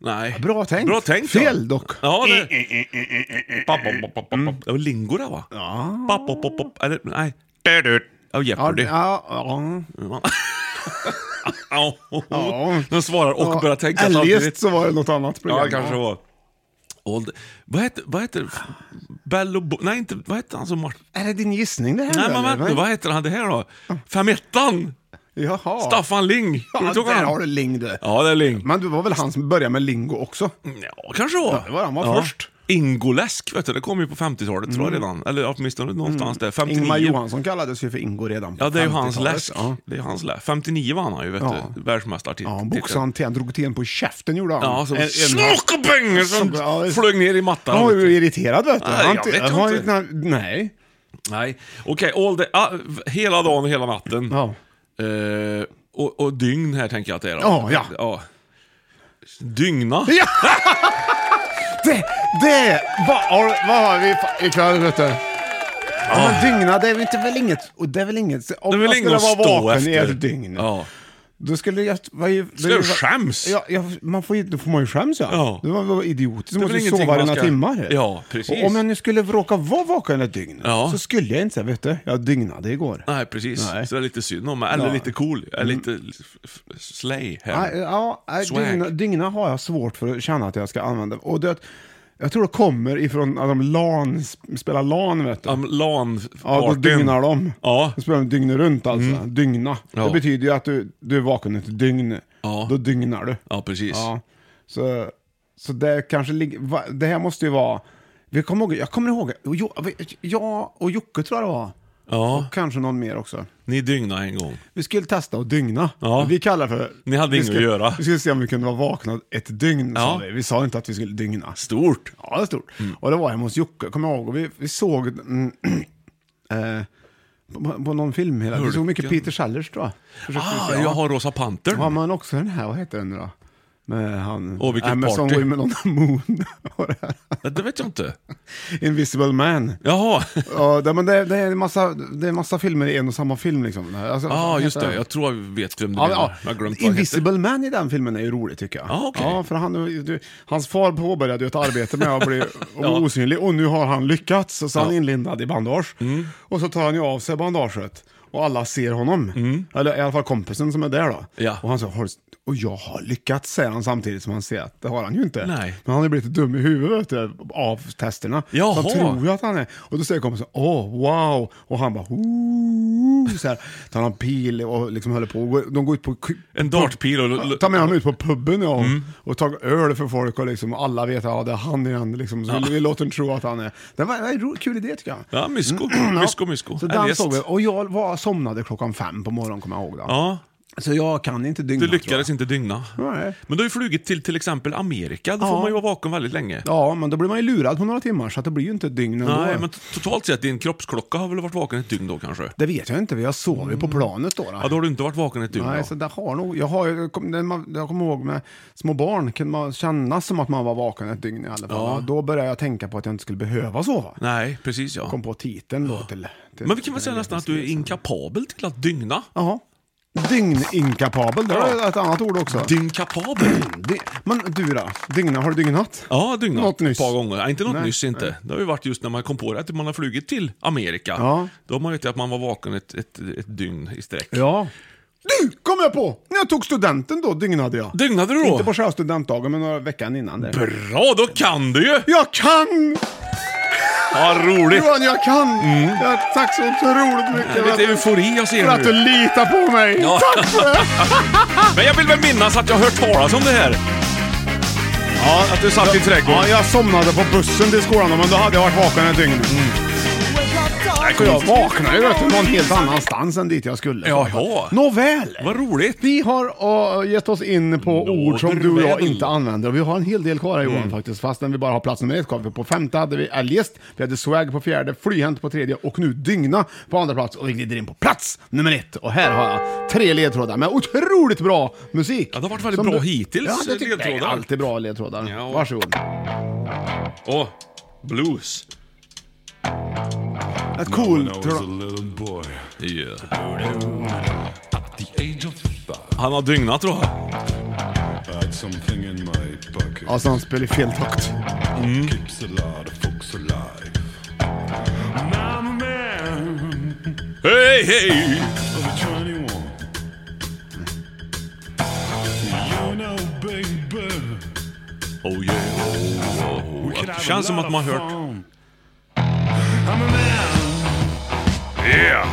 [SPEAKER 3] Nej.
[SPEAKER 2] Bra tänkt.
[SPEAKER 3] Bra tänkt. ja.
[SPEAKER 2] Fel dock.
[SPEAKER 3] Ja, det... Papp, papp, papp, papp, papp. Det var lingo det va? Ja. Papp, papp, papp, papp. Eller nej. Ja, Jeopardy.
[SPEAKER 2] Ja, ja.
[SPEAKER 3] [laughs] Ja. De svarar och börjar tänka
[SPEAKER 2] Eljest
[SPEAKER 3] samtidigt.
[SPEAKER 2] så var det något annat program.
[SPEAKER 3] Ja, det kanske det var. Old... Vad heter... Vad heter... Bello... Bo... Nej, inte... Vad heter han som Martin...
[SPEAKER 2] Är det din gissning det här?
[SPEAKER 3] Nej,
[SPEAKER 2] nu,
[SPEAKER 3] men
[SPEAKER 2] eller?
[SPEAKER 3] vänta. Vad heter han det här då? Femettan!
[SPEAKER 2] Jaha.
[SPEAKER 3] Staffan Ling. Kommer
[SPEAKER 2] Ja,
[SPEAKER 3] du ihåg
[SPEAKER 2] där
[SPEAKER 3] honom?
[SPEAKER 2] har du Ling du.
[SPEAKER 3] Ja, det är Ling. Mm,
[SPEAKER 2] Men du var väl han som började med lingo också?
[SPEAKER 3] Ja, kanske var.
[SPEAKER 2] Ja, det var han var först. Mm.
[SPEAKER 3] Ingoläsk, vet du, det kom ju på 50-talet tror jag redan. Eller åtminstone någonstans där. 59.
[SPEAKER 2] Ingmar Johansson kallades ju för Ingo redan på
[SPEAKER 3] Ja, det är ju hans
[SPEAKER 2] 50-talet.
[SPEAKER 3] läsk.
[SPEAKER 2] Ja.
[SPEAKER 3] Det är hans läsk. 59 vann han ju, vet
[SPEAKER 2] Ja.
[SPEAKER 3] du. Världsmästartitel.
[SPEAKER 2] Ja, han boxade han till, han drog till en på käften gjorde han.
[SPEAKER 3] Ja, så
[SPEAKER 2] En- en-
[SPEAKER 3] slokbäng! Som
[SPEAKER 2] Ja, just-
[SPEAKER 3] flög ner i mattan.
[SPEAKER 2] Han var ju irriterad vet du.
[SPEAKER 3] Nej,
[SPEAKER 2] Han
[SPEAKER 3] jag
[SPEAKER 2] ty-
[SPEAKER 3] vet
[SPEAKER 2] han
[SPEAKER 3] ju
[SPEAKER 2] var
[SPEAKER 3] inte. Mm.
[SPEAKER 2] ju- Nej.
[SPEAKER 3] Nej, okej. all the- ah, v- hela dagen och hela natten.
[SPEAKER 2] Ja.
[SPEAKER 3] Eh, och, och dygn här tänker jag att det är då.
[SPEAKER 2] Ja, ja.
[SPEAKER 3] Dygna.
[SPEAKER 2] Ja! Det, det, vad har, vad har vi fa- ikväll vet du? Ja, men dygna, det är väl inte väl inget, och det är väl inget, om
[SPEAKER 3] Ah. Det är väl
[SPEAKER 2] jag
[SPEAKER 3] inget
[SPEAKER 2] skulle
[SPEAKER 3] att
[SPEAKER 2] vara
[SPEAKER 3] stå
[SPEAKER 2] vaken
[SPEAKER 3] efter.
[SPEAKER 2] i ett dygn,
[SPEAKER 3] Ja.
[SPEAKER 2] då skulle jag... Vad, ju-
[SPEAKER 3] Skulle jag skäms?
[SPEAKER 2] Ja, ja, man får, ju- då får man ju skäms ja.
[SPEAKER 3] Ja.
[SPEAKER 2] Då var man idiotisk, du
[SPEAKER 3] Det är
[SPEAKER 2] måste
[SPEAKER 3] väl
[SPEAKER 2] ju
[SPEAKER 3] ingenting
[SPEAKER 2] sova
[SPEAKER 3] man
[SPEAKER 2] dina
[SPEAKER 3] ska-
[SPEAKER 2] timmar.
[SPEAKER 3] Ja, precis.
[SPEAKER 2] Och om jag nu skulle råka vara vaken ett dygn,
[SPEAKER 3] Ja.
[SPEAKER 2] så skulle jag inte säga, vet du, jag dygnade igår.
[SPEAKER 3] Nej, precis.
[SPEAKER 2] Nej.
[SPEAKER 3] Så det är lite synd om mig. Eller
[SPEAKER 2] Ja. Mm.
[SPEAKER 3] lite cool. Eller lite f- f- slay här.
[SPEAKER 2] Nej, Ja, nej,
[SPEAKER 3] Swag.
[SPEAKER 2] dygna, dygna har jag svårt för att känna att jag ska använda. Och det, jag tror det kommer ifrån att de LAN, sp- spelar LAN vet du.
[SPEAKER 3] Um, lan
[SPEAKER 2] Ja, då dygnar de.
[SPEAKER 3] Ja. Mm.
[SPEAKER 2] Då spelar de dygnet runt alltså. Dygna.
[SPEAKER 3] Ja.
[SPEAKER 2] Det betyder ju att du, du är vaken ett dygn.
[SPEAKER 3] Ja.
[SPEAKER 2] Då dygnar du.
[SPEAKER 3] ja, precis.
[SPEAKER 2] Ja. Så, så det kanske ligger... va- Det här måste ju vara... Vi kommer ihåg, jag kommer ihåg, och Jo- jag och Jocke tror jag det var.
[SPEAKER 3] Ja.
[SPEAKER 2] Och kanske någon mer också.
[SPEAKER 3] Ni dygnade en gång.
[SPEAKER 2] Vi skulle testa att dygna.
[SPEAKER 3] Ja.
[SPEAKER 2] Vi kallar det för...
[SPEAKER 3] Ni hade
[SPEAKER 2] vi
[SPEAKER 3] inget
[SPEAKER 2] skulle,
[SPEAKER 3] att göra.
[SPEAKER 2] Vi skulle se om vi kunde vara vakna ett dygn, sa
[SPEAKER 3] Ja.
[SPEAKER 2] vi. Vi sa inte att vi skulle dygna.
[SPEAKER 3] Stort. Mm.
[SPEAKER 2] Ja, det är stort. Och det var hemma hos Jocke, kommer jag ihåg. Och vi, vi såg... Mm, [clears throat] eh, på, på någon film hela Vi såg mycket
[SPEAKER 3] Hulken.
[SPEAKER 2] Peter Sellers tror jag. Försökte vi
[SPEAKER 3] Ah,
[SPEAKER 2] se, ja.
[SPEAKER 3] jag har Rosa Pantern.
[SPEAKER 2] Ja, men också den här, vad heter den nu då? Med han...
[SPEAKER 3] Åh, vilket
[SPEAKER 2] Amazon
[SPEAKER 3] party.
[SPEAKER 2] Women on the Moon. [laughs] Och det här.
[SPEAKER 3] Ja, [laughs] Det vet jag inte.
[SPEAKER 2] Invisible Man. [laughs]
[SPEAKER 3] Jaha.
[SPEAKER 2] Ja, det, men det, det, är en massa, det är en massa filmer i en och samma film liksom. Alltså,
[SPEAKER 3] Ja,
[SPEAKER 2] vad
[SPEAKER 3] ah,
[SPEAKER 2] heter
[SPEAKER 3] just det.
[SPEAKER 2] den?
[SPEAKER 3] Jag tror jag vet vem du
[SPEAKER 2] Ja,
[SPEAKER 3] menar.
[SPEAKER 2] ja.
[SPEAKER 3] Jag har glömt vad han heter.
[SPEAKER 2] Invisible Man i den filmen är ju rolig tycker jag.
[SPEAKER 3] Ja, okej.
[SPEAKER 2] ja, för han, du, hans far påbörjade ju ett arbete med att bli att bli
[SPEAKER 3] [laughs] Ja.
[SPEAKER 2] osynlig och nu har han lyckats. Och så är han
[SPEAKER 3] Ja. Mm.
[SPEAKER 2] inlindad i bandage. Och så tar han ju av sig bandaget och alla ser honom. Eller i alla fall kompisen som är där då.
[SPEAKER 3] Mm. Ja.
[SPEAKER 2] Och han säger, "Har du- och jag har lyckats säger han samtidigt som han ser att det har han ju inte.
[SPEAKER 3] Nej.
[SPEAKER 2] Men han har ju blivit dum i huvudet vet du, av testerna.
[SPEAKER 3] Jaha.
[SPEAKER 2] Så han tror ju att han är. Och då säger kompisen, åh wow. Och han bara, "Ooh", så här, tar han pil och liksom håller på. Och går- De går ut på ku-
[SPEAKER 3] En dartpil och...
[SPEAKER 2] Ta med honom ut på puben ja,
[SPEAKER 3] Mm.
[SPEAKER 2] och ta öl för folk och liksom, alla vet att ja, det är han igen. Liksom, så vi låter dem tro att han är... Det var en ro- kul idé tycker jag. [clears throat]
[SPEAKER 3] Ja, mysko. Mysko, mysko.
[SPEAKER 2] Så
[SPEAKER 3] Ja,
[SPEAKER 2] den
[SPEAKER 3] visst.
[SPEAKER 2] såg vi. Och jag var, somnade klockan fem på morgonen kommer jag ihåg. Då.
[SPEAKER 3] Ja,
[SPEAKER 2] Så jag kan inte dygna
[SPEAKER 3] du
[SPEAKER 2] tror
[SPEAKER 3] lyckades
[SPEAKER 2] jag.
[SPEAKER 3] inte dygna.
[SPEAKER 2] Nej.
[SPEAKER 3] Men du har ju flugit till till exempel Amerika. Då får
[SPEAKER 2] Ja.
[SPEAKER 3] man ju vara vaken väldigt länge.
[SPEAKER 2] Ja, men då blir man ju lurad på några timmar så att det blir ju inte ett dygn ändå.
[SPEAKER 3] Nej, men t- totalt sett, din kroppsklocka har väl varit vaken ett dygn då kanske?
[SPEAKER 2] Det vet jag inte, för jag sov ju
[SPEAKER 3] Mm.
[SPEAKER 2] på planet då. då.
[SPEAKER 3] Ja, då har du inte varit vaken ett dygn
[SPEAKER 2] Nej,
[SPEAKER 3] då.
[SPEAKER 2] så det har nog, jag, har, ju- jag kom- det man- jag kommer ihåg med små barn kunde man känna som att man var vaken ett dygn i alla fall.
[SPEAKER 3] Ja.
[SPEAKER 2] Då började jag tänka på att jag inte skulle behöva sova.
[SPEAKER 3] Nej, precis ja.
[SPEAKER 2] kom på titeln då till... till
[SPEAKER 3] Men vi kan väl säga nästan att du är inkapabel till att dygna?
[SPEAKER 2] Jaha. Dygninkapabel, det är ett annat ord också.
[SPEAKER 3] Dynkapabel?
[SPEAKER 2] Dy- Men du då? Dygna, har du dygnat?
[SPEAKER 3] Ja, dygnat
[SPEAKER 2] Något nyss.
[SPEAKER 3] ett par gånger. Nej, inte något
[SPEAKER 2] Nej.
[SPEAKER 3] nyss inte. Det har ju varit just när man kom på det, att man har flugit till Amerika.
[SPEAKER 2] Ja.
[SPEAKER 3] Då har man vetat att man var vaken ett, ett, ett dygn i sträck.
[SPEAKER 2] Ja. Du, kom jag på! När jag tog studenten då dygnade jag.
[SPEAKER 3] Dygnade du då?
[SPEAKER 2] Inte på själva studentdagen, men några veckan innan. Där.
[SPEAKER 3] Bra, då kan du ju!
[SPEAKER 2] Jag kan!
[SPEAKER 3] Ja, roligt.
[SPEAKER 2] Johan, jag kan! Ja, tack så otroligt mycket.
[SPEAKER 3] Det är
[SPEAKER 2] för att
[SPEAKER 3] lite
[SPEAKER 2] du-
[SPEAKER 3] eufori jag ser
[SPEAKER 2] För att
[SPEAKER 3] nu.
[SPEAKER 2] du litar på mig.
[SPEAKER 3] Ja.
[SPEAKER 2] [laughs] Tack för det!
[SPEAKER 3] [laughs] Men jag vill väl minnas att jag har hört talas om det här. Ja, att du satt i trädgården.
[SPEAKER 2] Ja, jag somnade på bussen till skolan, men då hade jag varit vaken ett
[SPEAKER 3] Mm.
[SPEAKER 2] dygn. Så jag vaknade ju vet du, någon helt annanstans än dit jag skulle.
[SPEAKER 3] Jaha.
[SPEAKER 2] Nåväl!
[SPEAKER 3] Vad roligt.
[SPEAKER 2] Vi har eh, gett oss in på ord som du och jag inte använder. Och vi har en hel del kvar här
[SPEAKER 3] Mm.
[SPEAKER 2] Johan faktiskt. Fastän vi bara har plats nummer ett kvar. För på femte hade vi eljest, vi hade swag på fjärde, flyhänt på tredje och nu dygna på andra plats. Och vi glider in på plats nummer ett. Och här har jag tre ledtrådar med otroligt bra musik. Ja,
[SPEAKER 3] det har varit väldigt bra hittills,
[SPEAKER 2] Ja, det tycker jag. Det är
[SPEAKER 3] ledtrådar.
[SPEAKER 2] alltid bra ledtrådar.
[SPEAKER 3] Ja.
[SPEAKER 2] Varsågod.
[SPEAKER 3] Åh, blues.
[SPEAKER 2] Ett cool...
[SPEAKER 3] Han har dygnat tror jag.
[SPEAKER 2] Alltså han spelar i fel takt.
[SPEAKER 3] Hej, hej! Oh yeah. Oh, oh, oh. Det känns som att man har hört... Yeah!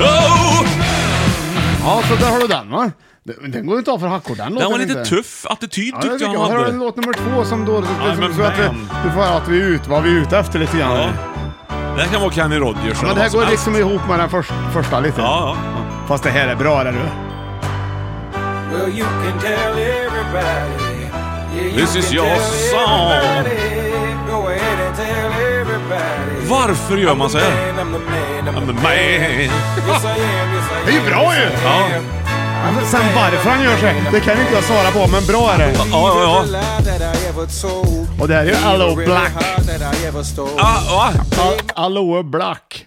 [SPEAKER 3] Oh!
[SPEAKER 2] Ja, så där har du den va? Den den går inte av för hackor den låten
[SPEAKER 3] Den var lite
[SPEAKER 2] inte.
[SPEAKER 3] tuff attityd
[SPEAKER 2] Ja, det
[SPEAKER 3] tyckte
[SPEAKER 2] tycker
[SPEAKER 3] jag
[SPEAKER 2] jag.
[SPEAKER 3] han
[SPEAKER 2] Här har du
[SPEAKER 3] hade.
[SPEAKER 2] låt nummer två som då...
[SPEAKER 3] Ja, men
[SPEAKER 2] så att vi,
[SPEAKER 3] man.
[SPEAKER 2] du får höra att vi är ute, vad vi är ute efter lite grann.
[SPEAKER 3] Ja. Det här kan vara Kenny Rogers
[SPEAKER 2] Men det här
[SPEAKER 3] eller vad som
[SPEAKER 2] går
[SPEAKER 3] helst.
[SPEAKER 2] liksom ihop med den först, första lite.
[SPEAKER 3] Ja, ja.
[SPEAKER 2] Fast det här är bra det du.
[SPEAKER 4] Well, you can tell everybody. Yeah, you
[SPEAKER 3] This is
[SPEAKER 4] can
[SPEAKER 3] your
[SPEAKER 4] tell
[SPEAKER 3] song.
[SPEAKER 4] everybody. Go ahead and tell everybody.
[SPEAKER 3] Varför gör man så här?
[SPEAKER 4] I'm the man, I'm the
[SPEAKER 3] I'm the
[SPEAKER 4] man.
[SPEAKER 3] man.
[SPEAKER 4] Yes, I am, yes, I
[SPEAKER 2] Det är ju
[SPEAKER 4] am,
[SPEAKER 2] bra
[SPEAKER 4] yes,
[SPEAKER 2] ju.
[SPEAKER 4] I
[SPEAKER 3] Ja.
[SPEAKER 4] am.
[SPEAKER 2] Men sen varför han gör så här, det kan inte jag svara på, men bra är det.
[SPEAKER 3] Ja, ja, ja.
[SPEAKER 2] Och det här är ju Allo Black.
[SPEAKER 3] Ah, ah.
[SPEAKER 2] Al- Allo Black.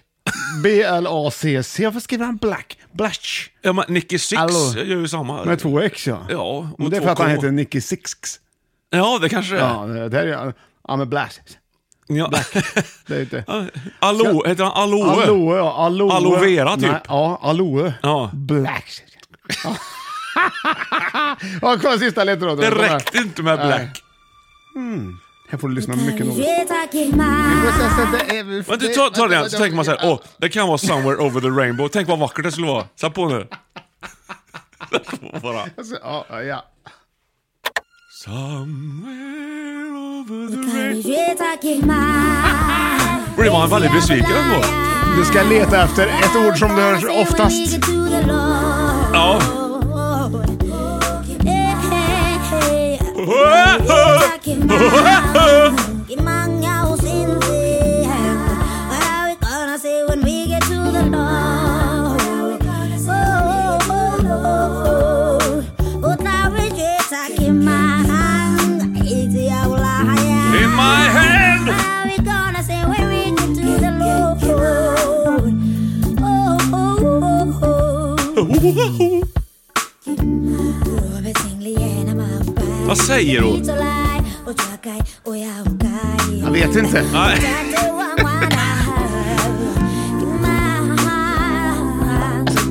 [SPEAKER 2] B-L-A-C-C. Varför skriver han Black? Blash.
[SPEAKER 3] Ja, men Nicky Six
[SPEAKER 2] Hallå.
[SPEAKER 3] gör ju samma.
[SPEAKER 2] Med två X ja.
[SPEAKER 3] Ja, och
[SPEAKER 2] Men det är
[SPEAKER 3] två
[SPEAKER 2] för att han
[SPEAKER 3] K.
[SPEAKER 2] heter Nicky Sixx.
[SPEAKER 3] Ja, det kanske det är.
[SPEAKER 2] Ja, det här är ju... Ja men Blash.
[SPEAKER 3] Ja. [laughs]
[SPEAKER 2] Det är inte...
[SPEAKER 3] Allo, heter han Aloe?
[SPEAKER 2] Aloe, ja. Aloe.
[SPEAKER 3] Aloe vera, typ.
[SPEAKER 2] Nej, ja, aloe.
[SPEAKER 3] Ja.
[SPEAKER 2] Black. [laughs] Ja. ja, kolla sista ledtråden.
[SPEAKER 3] Det
[SPEAKER 2] Kom här.
[SPEAKER 3] räckte inte med Black.
[SPEAKER 2] Här får du lyssna mycket noga.
[SPEAKER 3] Men du, ta, ta den så tänker man så här, åh, det kan vara Somewhere over the rainbow. Tänk vad vackert det skulle vara. Sätt på nu. Sätt på bara.
[SPEAKER 2] Alltså, Ja, ja.
[SPEAKER 3] Somewhere over the rainbow. Blir man väldigt besviken ändå.
[SPEAKER 2] Du ska leta efter ett ord som er du hör oftast.
[SPEAKER 3] Ja.
[SPEAKER 13] Oh,
[SPEAKER 3] In my hand! Vad säger hon?
[SPEAKER 2] Jag vet inte.
[SPEAKER 3] Nej.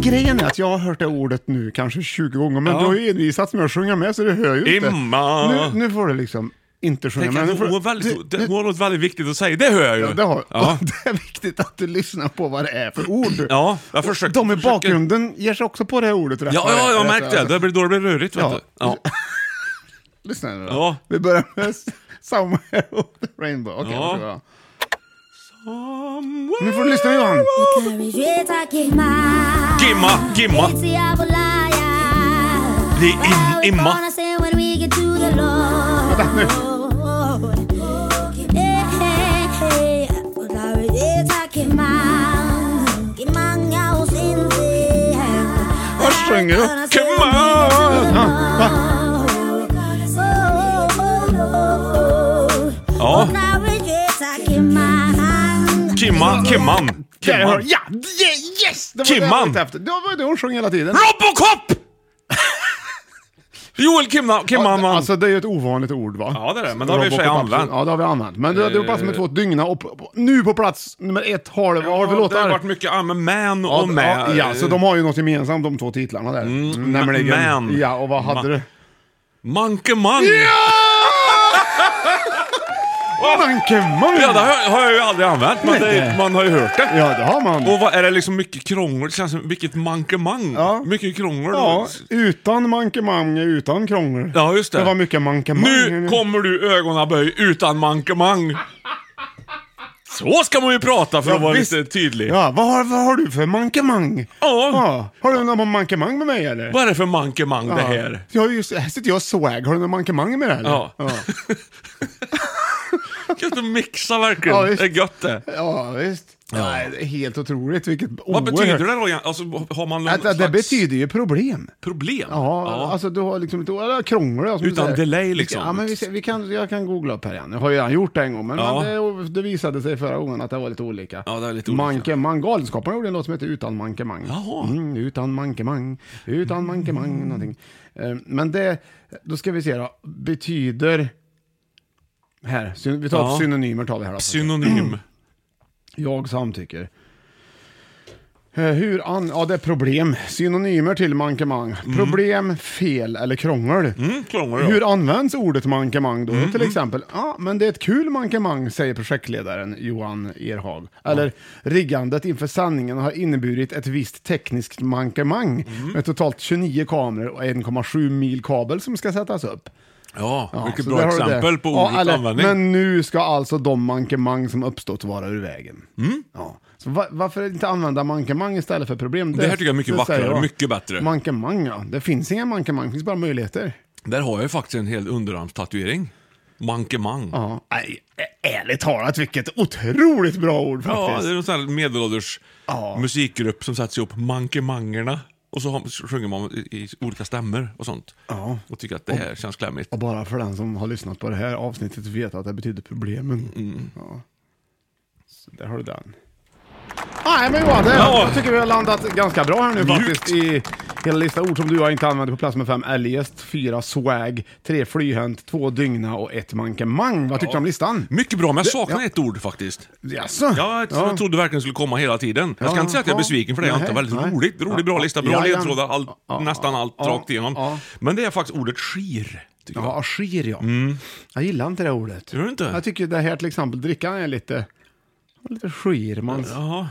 [SPEAKER 2] Grejen är att jag har hört det ordet nu kanske 20 gånger, men
[SPEAKER 3] Ja.
[SPEAKER 2] du har ju envisats med att sjunga med så du hör ju inte.
[SPEAKER 3] Imma.
[SPEAKER 2] Nu, nu får du liksom inte sjunga
[SPEAKER 3] Tänk
[SPEAKER 2] med.
[SPEAKER 3] att
[SPEAKER 2] Nu får
[SPEAKER 3] hon,
[SPEAKER 2] du-
[SPEAKER 3] var väldigt,
[SPEAKER 2] du-
[SPEAKER 3] hon har något väldigt viktigt att säga. Det hör jag ju.
[SPEAKER 2] Ja, det har
[SPEAKER 3] Ja.
[SPEAKER 2] Och [laughs] Det är viktigt att du lyssnar på vad det är för ord.
[SPEAKER 3] Ja, jag försöker-
[SPEAKER 2] De i
[SPEAKER 3] försöker-
[SPEAKER 2] bakgrunden ger sig också på det här ordet. rätt
[SPEAKER 3] Ja,
[SPEAKER 2] vad
[SPEAKER 3] ja,
[SPEAKER 2] är,
[SPEAKER 3] jag
[SPEAKER 2] rätt
[SPEAKER 3] märkte
[SPEAKER 2] vad är. [laughs]
[SPEAKER 3] det. Det blir då det blir rörigt, vet
[SPEAKER 2] Ja.
[SPEAKER 3] du. Ja.
[SPEAKER 2] Lyssna nu då.
[SPEAKER 3] Ja.
[SPEAKER 2] Vi börjar med [laughs] Somewhere over the rainbow. Okej,
[SPEAKER 3] Ja.
[SPEAKER 2] varsågoda. Nu får du lyssna Johan.
[SPEAKER 3] Gimma, gimma. Det är im, imma.
[SPEAKER 13] [laughs]
[SPEAKER 2] Vänta nu. Vad sjunger du?
[SPEAKER 3] Come on!
[SPEAKER 2] Ja, va?
[SPEAKER 3] Ja. Kimma, Kimman.
[SPEAKER 2] Där hör-
[SPEAKER 3] Kimman.
[SPEAKER 2] Ja, yeah, yes! Det var det jag
[SPEAKER 3] Kimman.
[SPEAKER 2] letade efter. Det var det hon sjöng hela tiden.
[SPEAKER 3] Robocop! Joel Kimna, Kimman.
[SPEAKER 2] Ja, alltså det är ju ett ovanligt ord va?
[SPEAKER 3] Ja, det är det, men det har vi i och för sig
[SPEAKER 2] Robocop,
[SPEAKER 3] använt.
[SPEAKER 2] Ja, det har vi använt. Men det, det passar med två dygna och på- på- nu på plats nummer ett har det, vad har det för
[SPEAKER 3] Ja, det
[SPEAKER 2] låtar?
[SPEAKER 3] har varit mycket ah, men man
[SPEAKER 2] Ja,
[SPEAKER 3] och med. eh,
[SPEAKER 2] Ja, ja, så de har ju något gemensamt de två titlarna där.
[SPEAKER 3] Mm,
[SPEAKER 2] Nämligen...
[SPEAKER 3] Man.
[SPEAKER 2] Ja, och vad hade
[SPEAKER 3] Ma-
[SPEAKER 2] du?
[SPEAKER 3] Mankeman!
[SPEAKER 2] Mankeman!
[SPEAKER 3] Ja, det har, har jag ju aldrig använt, men det, är- man har ju hört det.
[SPEAKER 2] Ja, det har man.
[SPEAKER 3] Och vad, är det liksom mycket krångel? Det känns som, vilket mankemang. Mycket krångel.
[SPEAKER 2] Ja, utan mankemang, utan krångel.
[SPEAKER 3] Ja, just det.
[SPEAKER 2] Det var mycket mankemang.
[SPEAKER 3] Nu kommer du ögonaböj utan mankemang. Så ska man ju prata för att
[SPEAKER 2] Ja,
[SPEAKER 3] vara
[SPEAKER 2] visst.
[SPEAKER 3] lite tydlig.
[SPEAKER 2] Ja, vad har, vad har du för mankemang?
[SPEAKER 3] Ja.
[SPEAKER 2] Har du någon mankemang med mig eller?
[SPEAKER 3] Vad är det för mankemang det här?
[SPEAKER 2] Ja, just, här sitter jag och swag. Har du någon mankemang med det eller?
[SPEAKER 3] Ja. Gött att mixa verkligen.
[SPEAKER 2] Ja, visst.
[SPEAKER 3] det är gött det.
[SPEAKER 2] Ja, visst. Nej, det är helt otroligt. Vilket
[SPEAKER 3] Vad betyder
[SPEAKER 2] oerhört-
[SPEAKER 3] det då egentligen? Alltså, har man någon
[SPEAKER 2] Att, att det
[SPEAKER 3] slags
[SPEAKER 2] betyder ju problem.
[SPEAKER 3] problem?
[SPEAKER 2] Ja, alltså du har liksom lite eller krångel. ja, som du
[SPEAKER 3] Utan
[SPEAKER 2] säger.
[SPEAKER 3] delay, liksom.
[SPEAKER 2] Ja, men vi, ser- vi kan, jag kan googla upp här igen. Jag har ju redan gjort det en gång, men,
[SPEAKER 3] Ja.
[SPEAKER 2] men det, det visade sig förra gången att det var lite olika.
[SPEAKER 3] Ja, det är lite olika.
[SPEAKER 2] Mankemang. Galenskaparna gjorde en låt som heter Utan mankemang. Mm, utan mankemang, utan mankemang, någonting. Eh, Men det, då ska vi se då, betyder... Här, syn- vi tar
[SPEAKER 3] Ja.
[SPEAKER 2] synonymer tar vi här då. Mm.
[SPEAKER 3] Synonym.
[SPEAKER 2] Jag samtycker. Eh, Hur an... Ja, det är problem. Synonymer till mankemang. Problem, fel eller krångel.
[SPEAKER 3] krångel, Mm. ja. Mm,
[SPEAKER 2] Hur används ordet mankemang då? Till exempel, ja, men det är ett kul mankemang, säger projektledaren Johan Erhag. Eller, riggandet inför sändningen har inneburit ett visst tekniskt mankemang
[SPEAKER 3] Mm.
[SPEAKER 2] med totalt 29 kameror och 1,7 mil kabel som ska sättas upp.
[SPEAKER 3] Ja, mycket
[SPEAKER 2] så
[SPEAKER 3] bra
[SPEAKER 2] där har du
[SPEAKER 3] exempel
[SPEAKER 2] det.
[SPEAKER 3] på
[SPEAKER 2] Ja,
[SPEAKER 3] ordets
[SPEAKER 2] eller,
[SPEAKER 3] användning.
[SPEAKER 2] Men nu ska alltså de mankemang som uppstått vara ur vägen.
[SPEAKER 3] Mm.
[SPEAKER 2] Ja. Så va, varför inte använda mankemang istället för problem?
[SPEAKER 3] Det här tycker jag är mycket
[SPEAKER 2] det säger
[SPEAKER 3] vackrare,
[SPEAKER 2] jag.
[SPEAKER 3] mycket bättre.
[SPEAKER 2] Mankemang, ja. Det finns inga mankemang, det finns bara möjligheter.
[SPEAKER 3] Där har jag ju faktiskt en hel underarmstatuering. Mankemang.
[SPEAKER 2] Ja. Nej, ä- ärligt talat, vilket otroligt bra ord
[SPEAKER 3] Ja,
[SPEAKER 2] faktiskt.
[SPEAKER 3] det är en sån här medelålders musikgrupp som sätter sig upp mankemangerna. Och så har- sjunger man i, i olika stämmer och sånt.
[SPEAKER 2] Ja.
[SPEAKER 3] Och tycker att det här känns klämmigt.
[SPEAKER 2] Och bara för den som har lyssnat på det här avsnittet vet att det betyder problemen.
[SPEAKER 3] Mm.
[SPEAKER 2] Ja. Så där har du den. Nej men Johan, det,
[SPEAKER 3] Ja.
[SPEAKER 2] jag tycker vi har landat ganska bra här nu
[SPEAKER 3] Mjukt.
[SPEAKER 2] faktiskt i hela lista ord som du och jag inte använde på plats med fem. Eljest, fyra swag, tre flyhänt, två dygna och ett mankemang. Vad tyckte du om listan?
[SPEAKER 3] Mycket bra, men jag
[SPEAKER 2] Det-
[SPEAKER 3] saknar
[SPEAKER 2] ja.
[SPEAKER 3] ett ord faktiskt.
[SPEAKER 2] Jaså?
[SPEAKER 3] Ja, ett som jag trodde verkligen skulle komma hela tiden. Jag ska
[SPEAKER 2] Ja,
[SPEAKER 3] inte säga att jag
[SPEAKER 2] ja.
[SPEAKER 3] är besviken för det, jag har
[SPEAKER 2] Nej,
[SPEAKER 3] inte väldigt
[SPEAKER 2] nej.
[SPEAKER 3] roligt. Rolig, bra
[SPEAKER 2] Ja,
[SPEAKER 3] lista, bra
[SPEAKER 2] ja, ja.
[SPEAKER 3] ledtrådar, allt,
[SPEAKER 2] Ja,
[SPEAKER 3] nästan allt
[SPEAKER 2] ja,
[SPEAKER 3] rakt igenom.
[SPEAKER 2] ja.
[SPEAKER 3] Men det är faktiskt ordet skir. Tycker jag.
[SPEAKER 2] Ja, skir ja. Jag gillar inte det ordet.
[SPEAKER 3] Mm. Gör du inte?
[SPEAKER 2] Jag tycker det här till exempel, drickan är lite, lite skir. Man
[SPEAKER 3] Jaha.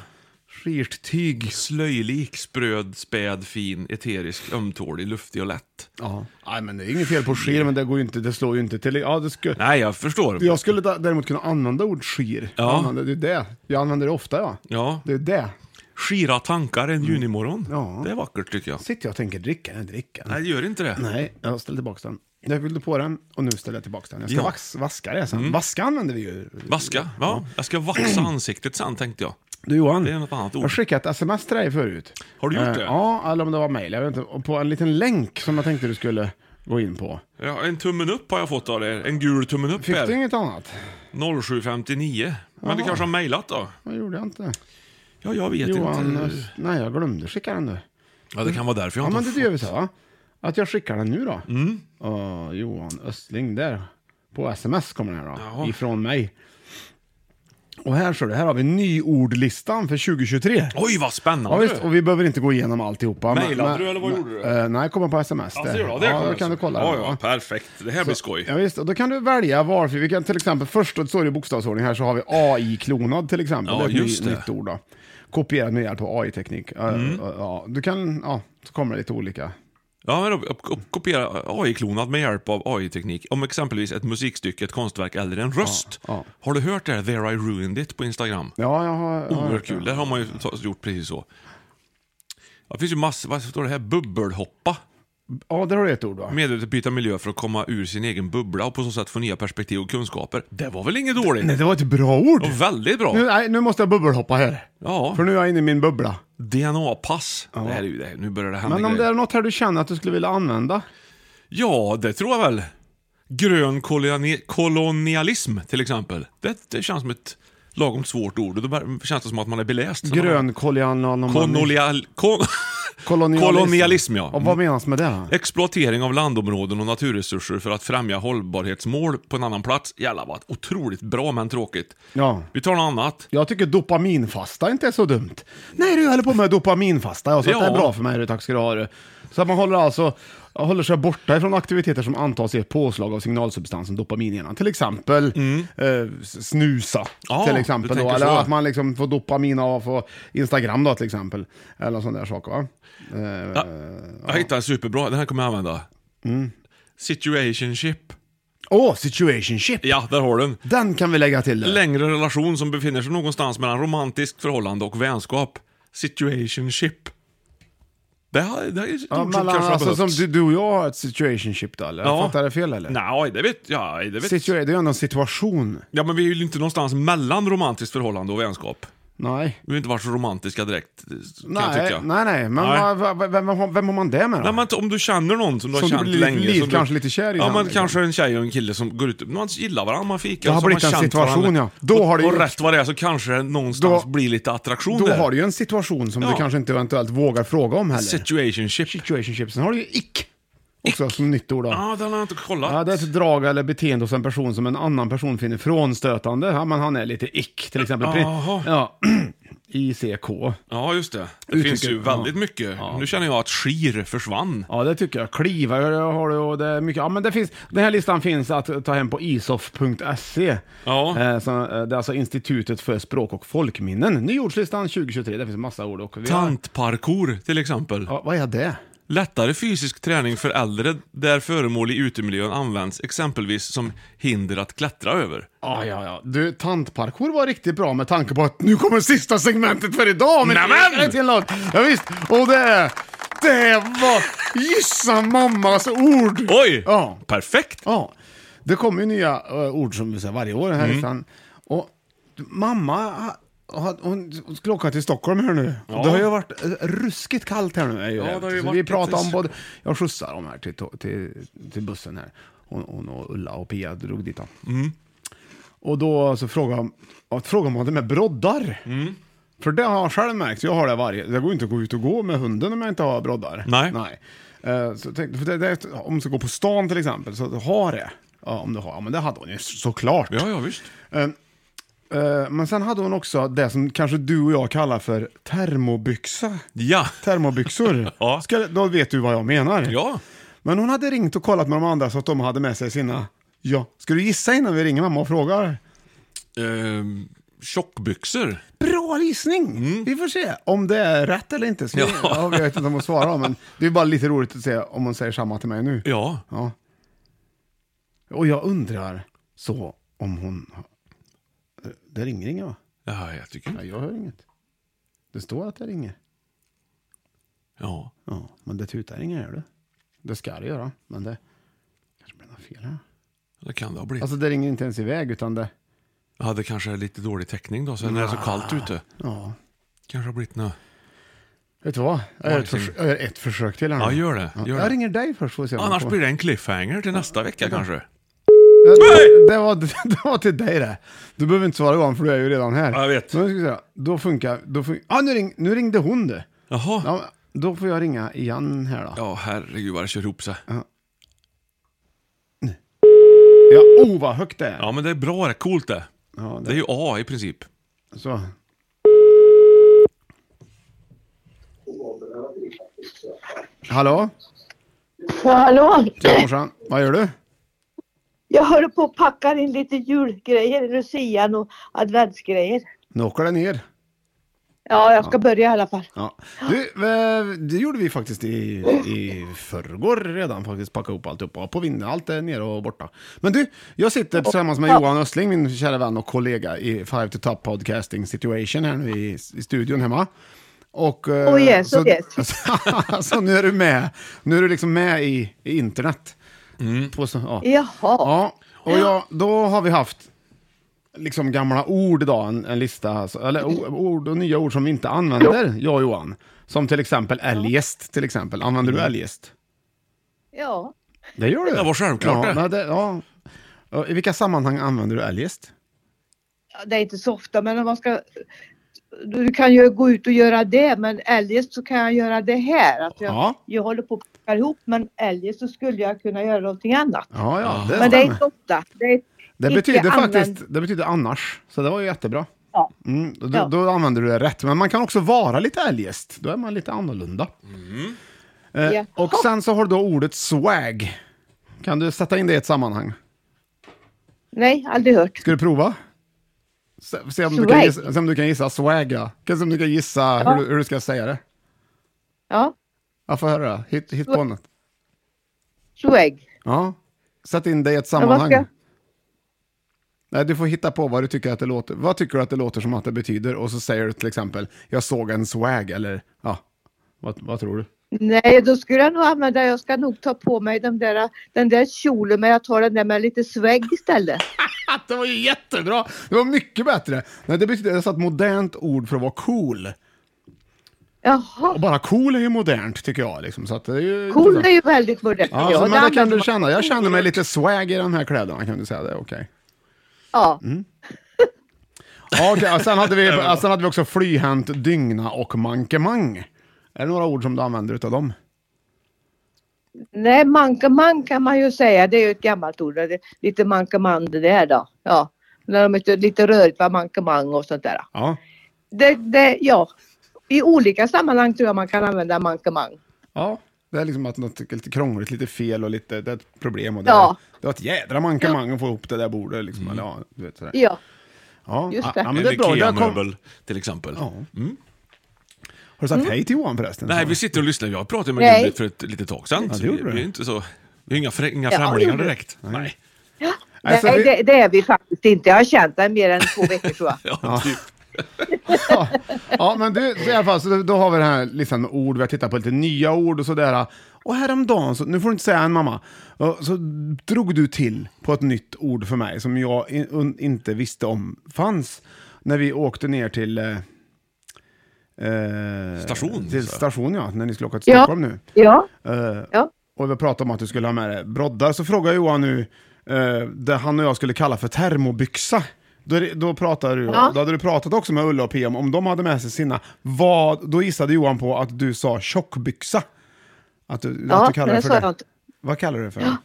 [SPEAKER 2] skirt tyg.
[SPEAKER 3] Slöjlik, spröd, späd, fin, eterisk, ömtålig, luftig och lätt.
[SPEAKER 2] Ja. Nej, men det är inget fel på skir, men det går ju inte, det slår ju inte till. Ja, det skulle...
[SPEAKER 3] Nej, jag förstår.
[SPEAKER 2] Jag skulle da- däremot kunna använda ordet skir.
[SPEAKER 3] Ja.
[SPEAKER 2] Jag använder- Det är det. Jag använder det ofta, ja.
[SPEAKER 3] Ja.
[SPEAKER 2] Det är det.
[SPEAKER 3] Skira tankar en junimorgon.
[SPEAKER 2] Mm. Ja.
[SPEAKER 3] Det är vackert tycker jag.
[SPEAKER 2] Sitter jag och tänker dricka, jag dricka.
[SPEAKER 3] Nej, det gör inte det.
[SPEAKER 2] Nej, jag ställer tillbaka den. Jag fyllde på den och nu ställer jag tillbaka den. Jag ska
[SPEAKER 3] Ja. Mm.
[SPEAKER 2] vax, vaska det sen. Vaska använder vi ju.
[SPEAKER 3] Vaska? Ja. Jag ska vaxa ansiktet sen tänkte jag.
[SPEAKER 2] Du Johan,
[SPEAKER 3] Det är något annat
[SPEAKER 2] jag
[SPEAKER 3] ord.
[SPEAKER 2] skickade ett sms till dig förut.
[SPEAKER 3] Har du gjort
[SPEAKER 2] Eh,
[SPEAKER 3] det?
[SPEAKER 2] Ja, eller om det var mejl. Jag vet inte. Och På en liten länk som jag tänkte du skulle gå in på.
[SPEAKER 3] Ja, en tummen upp har jag fått av er. En gul tummen upp
[SPEAKER 2] Fick du
[SPEAKER 3] här.
[SPEAKER 2] inget annat?
[SPEAKER 3] 0759. Men du kanske har mejlat då?
[SPEAKER 2] Det gjorde jag inte.
[SPEAKER 3] Ja, jag vet
[SPEAKER 2] Johan,
[SPEAKER 3] inte.
[SPEAKER 2] eh, nej jag glömde skicka den nu.
[SPEAKER 3] Ja, det kan vara därför jag
[SPEAKER 2] Ja,
[SPEAKER 3] inte
[SPEAKER 2] men
[SPEAKER 3] har
[SPEAKER 2] det gör vi så här, va? Att jag skickar den nu då.
[SPEAKER 3] Mm.
[SPEAKER 2] Ja, Johan Östling där. På sms kommer den här då.
[SPEAKER 3] Jaha.
[SPEAKER 2] Ifrån mig. Och här ser du, här har vi nyordlistan för 2023.
[SPEAKER 3] Oj, vad spännande!
[SPEAKER 2] Ja, visst, och vi behöver inte gå igenom alltihopa. men-
[SPEAKER 3] Mejlade
[SPEAKER 2] men-
[SPEAKER 3] du, eller vad
[SPEAKER 2] men-
[SPEAKER 3] gjorde du?
[SPEAKER 2] eh, nej, jag kommer på sms.
[SPEAKER 3] Alltså,
[SPEAKER 2] där.
[SPEAKER 3] gör du det?
[SPEAKER 2] ja,
[SPEAKER 3] kommer
[SPEAKER 2] då kan du
[SPEAKER 3] alltså.
[SPEAKER 2] kolla.
[SPEAKER 3] Ja,
[SPEAKER 2] den,
[SPEAKER 3] ja,
[SPEAKER 2] va?
[SPEAKER 3] perfekt. Det här blir skoj.
[SPEAKER 2] Ja, visst, och då kan du välja varför. Vi kan till exempel, först då står det i bokstavsordning här så har vi AI-klonad till exempel.
[SPEAKER 3] Ja,
[SPEAKER 2] det är ett ny-
[SPEAKER 3] just det. Mm.
[SPEAKER 2] nytt ord då. Kopierad med hjälp av AI-teknik. Eh, eh, ja, du kan, ja, så kommer det lite olika.
[SPEAKER 3] Ja, men då, k- kopiera AI-klonat med hjälp av AI-teknik. Om exempelvis ett musikstycke, ett konstverk eller en röst.
[SPEAKER 2] ja.
[SPEAKER 3] Har du hört det här “There I ruined it” på Instagram?
[SPEAKER 2] Ja, jag har... jag har
[SPEAKER 3] Oerhört
[SPEAKER 2] hört det.
[SPEAKER 3] kul. Där har man ju ta- gjort precis så. Ja, Det finns ju massor, vad står det här? Bubbelhoppa.
[SPEAKER 2] Ja, där har du ett ord va?
[SPEAKER 3] Medvetet byta miljö för att komma ur sin egen bubbla och på så sätt få nya perspektiv och kunskaper. Det var väl inget dåligt?
[SPEAKER 2] Nej, det var ett bra ord!
[SPEAKER 3] Och väldigt
[SPEAKER 2] Nu,
[SPEAKER 3] bra.
[SPEAKER 2] nej, nu måste jag bubbelhoppa här.
[SPEAKER 3] Ja,
[SPEAKER 2] För nu är jag inne i min bubbla.
[SPEAKER 3] DNA-pass. Det här är ju det. Nu börjar det hända
[SPEAKER 2] Men om det
[SPEAKER 3] grejer.
[SPEAKER 2] är något här du känner att du skulle vilja använda?
[SPEAKER 3] Ja, det tror jag väl. Grön koloni- kolonialism till exempel. Det, det känns som ett lagom svårt ord. Då bör- känns det som att man är beläst.
[SPEAKER 2] Grön kolonialism.
[SPEAKER 3] [laughs] Kolonial... Kon
[SPEAKER 2] Kolonialism. Eh,
[SPEAKER 3] Kolonialism, ja.
[SPEAKER 2] Och vad
[SPEAKER 3] Mm.
[SPEAKER 2] menas med det? då?
[SPEAKER 3] Exploatering av landområden och naturresurser för att främja hållbarhetsmål på en annan plats. Jävlar vad otroligt bra men tråkigt.
[SPEAKER 2] Ja.
[SPEAKER 3] Vi tar något annat.
[SPEAKER 2] Jag tycker dopaminfasta inte är så dumt. Nej, du jag håller på med dopaminfasta, jag så att det är
[SPEAKER 3] Ja.
[SPEAKER 2] bra för mig, du, tack ska du ha. du. Så att man håller alltså håller sig borta ifrån aktiviteter som antas ge ett påslag av signalsubstansen dopamin i hjärnan. Till exempel eh, s- snusa.
[SPEAKER 3] Mm. Ja,
[SPEAKER 2] till
[SPEAKER 3] du
[SPEAKER 2] exempel då.
[SPEAKER 3] tänker
[SPEAKER 2] Eller
[SPEAKER 3] så.
[SPEAKER 2] att man liksom får dopamin av att få Instagram då till exempel. Eller någon sån där sak va? Eh,
[SPEAKER 3] Ja, jag hittade en superbra, den här kommer jag använda.
[SPEAKER 2] Mm.
[SPEAKER 3] Situationship.
[SPEAKER 2] Åh, situationship!
[SPEAKER 3] Ja, där har du den.
[SPEAKER 2] Den kan vi lägga till. där.
[SPEAKER 3] Längre relation som befinner sig någonstans mellan romantiskt förhållande och vänskap. Situationship. Det här, det här är ett
[SPEAKER 2] Ja,
[SPEAKER 3] ord som
[SPEAKER 2] mellan,
[SPEAKER 3] kanske har
[SPEAKER 2] alltså, som
[SPEAKER 3] behövts.
[SPEAKER 2] du, du och jag har ett situationship då eller?
[SPEAKER 3] Ja.
[SPEAKER 2] Fattar jag det fel eller?
[SPEAKER 3] Nej, det vet jag. Det vet.
[SPEAKER 2] Situa- det är ju ändå en situation.
[SPEAKER 3] Ja, men vi är ju inte någonstans mellan romantiskt förhållande och vänskap.
[SPEAKER 2] Nej.
[SPEAKER 3] Vi har inte varit så romantiska direkt, kan jag
[SPEAKER 2] Nej,
[SPEAKER 3] tycka.
[SPEAKER 2] nej, nej, men
[SPEAKER 3] Nej.
[SPEAKER 2] va- va- va- vem, har- vem har man det med då?
[SPEAKER 3] Nej, men om du känner någon som du
[SPEAKER 2] Som du
[SPEAKER 3] har känt
[SPEAKER 2] blir
[SPEAKER 3] länge.
[SPEAKER 2] lite-
[SPEAKER 3] som
[SPEAKER 2] kanske lite kär i
[SPEAKER 3] Ja,
[SPEAKER 2] den,
[SPEAKER 3] men
[SPEAKER 2] liksom.
[SPEAKER 3] kanske en tjej och en kille som går ut. Man gillar varandra, man fikar.
[SPEAKER 2] Det har
[SPEAKER 3] så har man
[SPEAKER 2] blivit en
[SPEAKER 3] känt
[SPEAKER 2] situation,
[SPEAKER 3] varandra.
[SPEAKER 2] ja. Då har det
[SPEAKER 3] och,
[SPEAKER 2] ju-
[SPEAKER 3] och rätt vad det är så kanske det någonstans blir lite attraktion
[SPEAKER 2] Då
[SPEAKER 3] där.
[SPEAKER 2] har du ju en situation som du
[SPEAKER 3] Ja.
[SPEAKER 2] kanske inte eventuellt vågar fråga om heller.
[SPEAKER 3] Situationship.
[SPEAKER 2] Situationship. Sen har du ju ick. Också som nytt ord då.
[SPEAKER 3] Ja, den har jag inte kollat.
[SPEAKER 2] Ja, det är ett drag eller beteende hos en person som en annan person finner frånstötande. Ja, men han är lite ick, till exempel. Pri-
[SPEAKER 3] Jaha.
[SPEAKER 2] Ja, [clears throat] ICK.
[SPEAKER 3] Ja, just det. Det
[SPEAKER 2] Uttrycket-
[SPEAKER 3] finns ju väldigt mycket. Nu känner jag att skir försvann.
[SPEAKER 2] Ja, det tycker jag. Kliva har du och det är mycket. Ja, men det finns, den här listan finns att ta hem på isof.se.
[SPEAKER 3] Ja.
[SPEAKER 2] Eh, så, eh, det är alltså Institutet för språk och folkminnen. Nyordslistan 2023, där finns massa ord. Och vi har-
[SPEAKER 3] Tantparkour, till exempel.
[SPEAKER 2] Ja, vad är det?
[SPEAKER 3] Lättare fysisk träning för äldre där föremål i utemiljön används exempelvis som hinder att klättra över.
[SPEAKER 2] Ja, ja, ja. Du, tantparkour var riktigt bra med tanke på att nu kommer sista segmentet för idag! Men
[SPEAKER 3] Nämen!
[SPEAKER 2] det är till en låt. Ja, visst. Och det är... Det var... Gissa mammas ord!
[SPEAKER 3] Oj!
[SPEAKER 2] Ja.
[SPEAKER 3] Perfekt!
[SPEAKER 2] Ja. Det kommer ju nya eh, ord som vi säger varje år här
[SPEAKER 3] Mm.
[SPEAKER 2] mm. Och mamma, ha- ha- hon, hon skulle åka till Stockholm här nu.
[SPEAKER 3] Ja.
[SPEAKER 2] Det har ju varit eh, ruskigt kallt här nu. Är ju
[SPEAKER 3] Ja, det har ju
[SPEAKER 2] Så
[SPEAKER 3] varit
[SPEAKER 2] vi
[SPEAKER 3] lite
[SPEAKER 2] pratade om
[SPEAKER 3] s-
[SPEAKER 2] både, jag skjutsade dem här till, tå- till, till bussen här. Hon, hon och Ulla och Pia drog dit dem.
[SPEAKER 3] Mm.
[SPEAKER 2] Och då så frågade hon- ja, frågade om hon hade med broddar.
[SPEAKER 3] Mm.
[SPEAKER 2] För det har jag själv märkt, jag har det varje, det går ju inte att gå ut och gå med hunden om jag inte har broddar.
[SPEAKER 3] Nej.
[SPEAKER 2] Eh, Så tänkte, för det, det, är- om du ska gå på stan till exempel, så ha det. Ja, om du har, ja, men det hade hon ju såklart.
[SPEAKER 3] Ja, ja, visst.
[SPEAKER 2] Eh, eh, Men sen hade hon också det som kanske du och jag kallar för termobyxa.
[SPEAKER 3] Ja.
[SPEAKER 2] Termobyxor.
[SPEAKER 3] [laughs] Ja.
[SPEAKER 2] Ska, då vet du vad jag menar.
[SPEAKER 3] Ja.
[SPEAKER 2] Men hon hade ringt och kollat med de andra så att de hade med sig sina. Ja. Ska du gissa innan vi ringer mamma och frågar?
[SPEAKER 3] Ehm, tjockbyxor.
[SPEAKER 2] Bra gissning! Vi får se om det är rätt eller inte. Ska vi,
[SPEAKER 3] Mm. Ja.
[SPEAKER 2] ja, jag vet inte om hon svarar, men det är bara lite roligt att se om hon säger samma till mig nu.
[SPEAKER 3] Ja.
[SPEAKER 2] Ja. Och jag undrar så om hon... har- Det ringer inget va?
[SPEAKER 3] Ja, jag tycker
[SPEAKER 2] Nej, jag hör inget. Det står att det ringer.
[SPEAKER 3] Ja.
[SPEAKER 2] Ja, men det tutar inget gör det. Det ska det göra, men det kanske blir något fel här.
[SPEAKER 3] Det kan det ha blivit.
[SPEAKER 2] Alltså det ringer inte ens iväg, utan det...
[SPEAKER 3] ja, det kanske är lite dålig täckning då, sen är det så kallt ute.
[SPEAKER 2] Ja.
[SPEAKER 3] Kanske har blivit nå.
[SPEAKER 2] Vet du vad? Jag gör ett, förs- jag gör ett försök till här nu.
[SPEAKER 3] Ja, gör det.
[SPEAKER 2] Mm. Ja,
[SPEAKER 3] Gör
[SPEAKER 2] jag
[SPEAKER 3] det.
[SPEAKER 2] ringer dig först får vi se om
[SPEAKER 3] Annars
[SPEAKER 2] jag får-
[SPEAKER 3] blir det en cliffhanger till nästa vecka kanske.
[SPEAKER 2] Det, det, var, [laughs] det var till dig det. Du behöver inte svara Johan för du är ju redan här.
[SPEAKER 3] Ja, jag vet.
[SPEAKER 2] Men nu ska vi se, då funkar... Då fun- ah, nu, ring, nu ringde hon du.
[SPEAKER 3] Jaha.
[SPEAKER 2] Ja, men då får jag ringa igen här då.
[SPEAKER 3] Ja, herregud vad det kör ihop sig.
[SPEAKER 2] Ja, oh vad högt det är.
[SPEAKER 3] Ja, men det är bra det. Coolt det.
[SPEAKER 2] Ja,
[SPEAKER 3] Det är ju A i princip.
[SPEAKER 2] Så. Hallå?
[SPEAKER 14] Ja, hallå?
[SPEAKER 2] Tja morsan, vad gör du?
[SPEAKER 14] Jag håller på och packar in lite julgrejer, lucian och adventsgrejer.
[SPEAKER 2] Nu åker det ner.
[SPEAKER 14] Ja, jag ska börja i alla fall.
[SPEAKER 2] Ja. Du, eh, det gjorde vi faktiskt i, i förrgår redan faktiskt, packa ihop alltihopa. På vinden, allt är nere och borta. Men du, jag sitter tillsammans med Johan Östling, min kära vän och kollega i Five to Top Podcasting Situation här nu i, i studion hemma. Och, eh,
[SPEAKER 14] Oh yes, oh yes.
[SPEAKER 2] så, [laughs] så nu är du med. Nu är du liksom med i, i internet. På, så, ja.
[SPEAKER 14] Jaha.
[SPEAKER 2] Ja, och jag, då har vi haft liksom gamla ord idag, en, en lista, alltså, eller o- ord och nya ord som vi inte använder, jag och Johan. Som till exempel eljest, till exempel. Använder du eljest?
[SPEAKER 14] Ja.
[SPEAKER 2] Det gör du.
[SPEAKER 3] Det var självklart
[SPEAKER 2] Mm. ja,
[SPEAKER 3] det.
[SPEAKER 2] men det. Ja. Och I vilka sammanhang använder du eljest?
[SPEAKER 14] Ja, Det är inte så ofta, men om man ska du kan ju gå ut och göra det men eljest så kan jag göra det här. Att jag,
[SPEAKER 2] Ja.
[SPEAKER 14] jag håller på att packa ihop men eljest så skulle jag kunna göra någonting annat.
[SPEAKER 2] Ja, ja, det
[SPEAKER 14] men det är
[SPEAKER 2] stämmer.
[SPEAKER 14] inte ofta. Det, är
[SPEAKER 2] Det
[SPEAKER 14] inte
[SPEAKER 2] betyder
[SPEAKER 14] använd-
[SPEAKER 2] faktiskt det betyder annars, så det var ju jättebra.
[SPEAKER 14] Ja.
[SPEAKER 2] Mm, då,
[SPEAKER 14] Ja.
[SPEAKER 2] då använder du det rätt, men man kan också vara lite eljest. Då är man lite annorlunda. Eh,
[SPEAKER 14] Mm. Ja.
[SPEAKER 2] Och sen så har du då ordet swag. Kan du sätta in det i ett sammanhang?
[SPEAKER 14] Nej, aldrig hört.
[SPEAKER 2] Ska du prova? Se, se, om, du kan
[SPEAKER 14] Swag.
[SPEAKER 2] gissa, se om du kan gissa swag, ja. Kan- Se om du kan gissa
[SPEAKER 14] Ja.
[SPEAKER 2] hur, du- hur du ska säga det.
[SPEAKER 14] Ja,
[SPEAKER 2] Ja, få höra. då. Hit, hit på
[SPEAKER 14] Swag.
[SPEAKER 2] något.
[SPEAKER 14] swag.
[SPEAKER 2] Ja. Sätt in det i ett
[SPEAKER 14] Ja, vad
[SPEAKER 2] sammanhang.
[SPEAKER 14] ska-
[SPEAKER 2] Nej, du får hitta på vad du tycker att det låter. Vad tycker du att det låter som att det betyder? Och så säger du till exempel, jag såg en swag eller ja, vad, vad tror du?
[SPEAKER 14] Nej, då skulle jag nog använda, jag ska nog ta på mig den där, den där kjolen men jag tar den där med lite swag istället.
[SPEAKER 2] det var ju jättebra! Det var mycket bättre. Nej, det betyder alltså ett modernt ord för att vara cool.
[SPEAKER 14] Jaha.
[SPEAKER 2] Och bara cool är ju modernt tycker jag. Liksom, så att det är ju
[SPEAKER 14] Cool är ju väldigt modernt.
[SPEAKER 2] Ja,
[SPEAKER 14] Ja,
[SPEAKER 2] så, men
[SPEAKER 14] det
[SPEAKER 2] det kan
[SPEAKER 14] använder
[SPEAKER 2] du
[SPEAKER 14] man.
[SPEAKER 2] känna. Jag känner mig lite swag i de här kläderna, kan du säga. Det är okej. Mm.
[SPEAKER 14] Ja.
[SPEAKER 2] Ja, okej, och Sen, hade vi- och sen hade vi också flyhänt, dygna och mankemang. Är det några ord som du använder utav dem?
[SPEAKER 14] Nej, mankemang kan man ju säga. Det är ju ett gammalt ord. Det är lite mankemang det där då. Ja. När de är lite- lite rörigt vad mankemang och sånt där.
[SPEAKER 2] Ja.
[SPEAKER 14] Det, det, ja. I olika sammanhang tror jag man kan använda mankemang.
[SPEAKER 2] Ja. Det är liksom att något är lite krångligt, lite fel och lite, det är ett problem. Och det,
[SPEAKER 14] Ja.
[SPEAKER 2] det var ett jädra mankemang att få ihop det där bordet. Liksom. Eller, ja, du vet, sådär.
[SPEAKER 14] Ja.
[SPEAKER 2] Ja,
[SPEAKER 14] Just
[SPEAKER 2] ja,
[SPEAKER 14] det.
[SPEAKER 2] Ja, men
[SPEAKER 3] En
[SPEAKER 2] det är bra. Det har kom... Har
[SPEAKER 3] IKEA-möbel till exempel. Mm.
[SPEAKER 2] du
[SPEAKER 14] Mm.
[SPEAKER 2] sagt hej till Johan förresten?
[SPEAKER 3] Nej, vi sitter och lyssnar. Jag pratade med
[SPEAKER 14] Nej.
[SPEAKER 3] Gunbritt för ett litet tag sedan.
[SPEAKER 2] Ja, det
[SPEAKER 3] så
[SPEAKER 2] gjorde
[SPEAKER 3] vi,
[SPEAKER 2] du.
[SPEAKER 3] vi är inte så... Vi är inga, frä- inga
[SPEAKER 14] Ja, det
[SPEAKER 3] främlingar
[SPEAKER 14] gjorde du.
[SPEAKER 3] direkt. Nej.
[SPEAKER 2] Alltså,
[SPEAKER 14] Nej,
[SPEAKER 2] vi-
[SPEAKER 14] det, det är vi faktiskt inte. Jag har känt den mer än två veckor tror jag.
[SPEAKER 2] [laughs] Ja, ja men du, så i alla fall, så då har vi den här listan med ord, vi har tittat på lite nya ord och sådär. Och häromdagen, så, nu får du inte säga en mamma, och så drog du till på ett nytt ord för mig som jag in, un, inte visste om fanns. När vi åkte ner till... Eh, eh,
[SPEAKER 3] Station,
[SPEAKER 2] Till
[SPEAKER 3] så.
[SPEAKER 2] station, ja. När ni skulle åka till
[SPEAKER 14] Ja.
[SPEAKER 2] Stockholm nu.
[SPEAKER 14] Ja.
[SPEAKER 2] Eh,
[SPEAKER 14] Ja.
[SPEAKER 2] Och vi pratade om att du skulle ha med dig broddar. Så frågar Johan nu eh, det han och jag skulle kalla för termobyxa. Då, är det- då, pratade du,
[SPEAKER 14] Ja.
[SPEAKER 2] då hade du pratat också med Ulla och Pia om, om de hade med sig sina. Vad, då gissade Johan på att du sa tjockbyxa. Att du,
[SPEAKER 14] Ja,
[SPEAKER 2] att du kallar
[SPEAKER 14] men
[SPEAKER 2] det
[SPEAKER 14] det
[SPEAKER 2] för
[SPEAKER 14] sa
[SPEAKER 2] det.
[SPEAKER 14] jag inte.
[SPEAKER 2] Vad kallar du det för? Ja.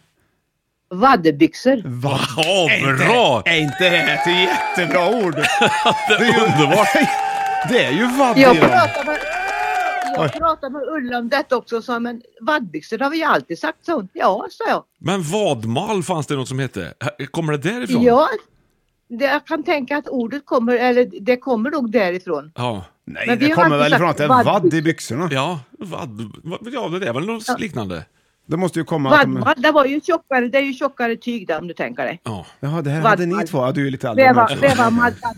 [SPEAKER 14] Vaddebyxor.
[SPEAKER 2] Va?
[SPEAKER 3] Ja, bra!
[SPEAKER 2] Är inte det här ett jättebra ord?
[SPEAKER 3] [laughs] Det är underbart!
[SPEAKER 2] [laughs] Det är ju vadd
[SPEAKER 14] Jag
[SPEAKER 2] i dem.
[SPEAKER 14] pratade med,
[SPEAKER 2] Oj.
[SPEAKER 14] jag pratade med Ulla om detta också och sa men vadbyxor har vi ju alltid sagt så. Ja, sa jag.
[SPEAKER 3] Men vadmal fanns det något som hette? Kommer det därifrån?
[SPEAKER 14] Ja, det, jag kan tänka att ordet kommer, eller det kommer nog därifrån.
[SPEAKER 3] Ja.
[SPEAKER 2] Nej,
[SPEAKER 14] Men vi
[SPEAKER 2] det
[SPEAKER 14] har
[SPEAKER 2] kommer
[SPEAKER 14] alltid
[SPEAKER 2] väl
[SPEAKER 14] sagt
[SPEAKER 2] ifrån att det är
[SPEAKER 14] vadd.
[SPEAKER 2] vadd i byxorna.
[SPEAKER 3] Ja, vad, vad, ja det är väl något liknande.
[SPEAKER 2] Det måste ju komma... att de-
[SPEAKER 14] Vadmal, det var ju tjockare, det är ju tjockare tyg där om du tänker dig.
[SPEAKER 3] Ja.
[SPEAKER 2] Jaha, det här
[SPEAKER 14] Vadd.
[SPEAKER 2] hade ni två? Ja, du är lite äldre
[SPEAKER 14] Det
[SPEAKER 2] än mig
[SPEAKER 14] var,
[SPEAKER 2] också.
[SPEAKER 14] det var maddan.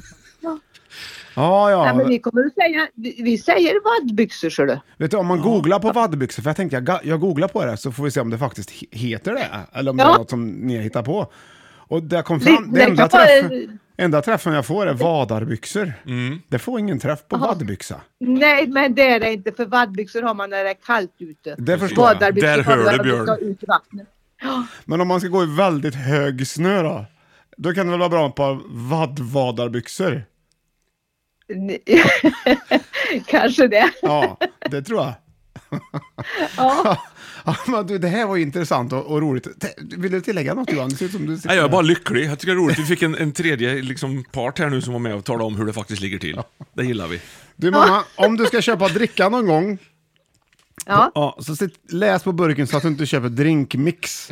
[SPEAKER 2] Ja, ja.
[SPEAKER 14] Nej, men vi kommer att säga, vi, vi säger vadbyxor ser du.
[SPEAKER 2] Vet du, om man googlar på vaddbyxor, för jag tänkte jag, ga- jag googlar på det så får vi se om det faktiskt he- heter det. Eller om det är
[SPEAKER 14] Ja.
[SPEAKER 2] något som ni hittar på. Och där kom
[SPEAKER 14] Det-
[SPEAKER 2] fram, det,
[SPEAKER 14] det
[SPEAKER 2] enda,
[SPEAKER 14] kan vara-
[SPEAKER 2] träffen, enda träffen jag får är vadarbyxor.
[SPEAKER 3] Mm.
[SPEAKER 2] Det får ingen träff på vaddbyxa.
[SPEAKER 14] Nej, men det är det inte för vadbyxor har man när det är kallt ute.
[SPEAKER 2] Det förstår jag.
[SPEAKER 14] Vadarbyxor
[SPEAKER 3] Där
[SPEAKER 14] har
[SPEAKER 3] hör
[SPEAKER 14] man
[SPEAKER 3] du,
[SPEAKER 14] när man ska
[SPEAKER 3] Björn.
[SPEAKER 14] ut i vattnet.
[SPEAKER 2] Men om man ska gå i väldigt hög snö då? Då kan det väl vara bra med ett par vaddvadarbyxor?
[SPEAKER 14] [laughs] Kanske det.
[SPEAKER 2] Ja, det tror jag.
[SPEAKER 14] [laughs] Ja.
[SPEAKER 2] [laughs] Ja, men du, det här var ju intressant och, och roligt. Te- Vill du tillägga något Johan? Det ser ut som du sitter
[SPEAKER 3] Nej, jag är
[SPEAKER 2] där.
[SPEAKER 3] bara lycklig. Jag tycker det är roligt. Vi fick en, en tredje liksom, part här nu som var med och talade om hur det faktiskt ligger till. Det gillar vi.
[SPEAKER 2] Du mamma, om du ska köpa dricka någon gång,
[SPEAKER 14] Ja.
[SPEAKER 2] Ja, så sitt, läs på burken så att du inte köper drinkmix.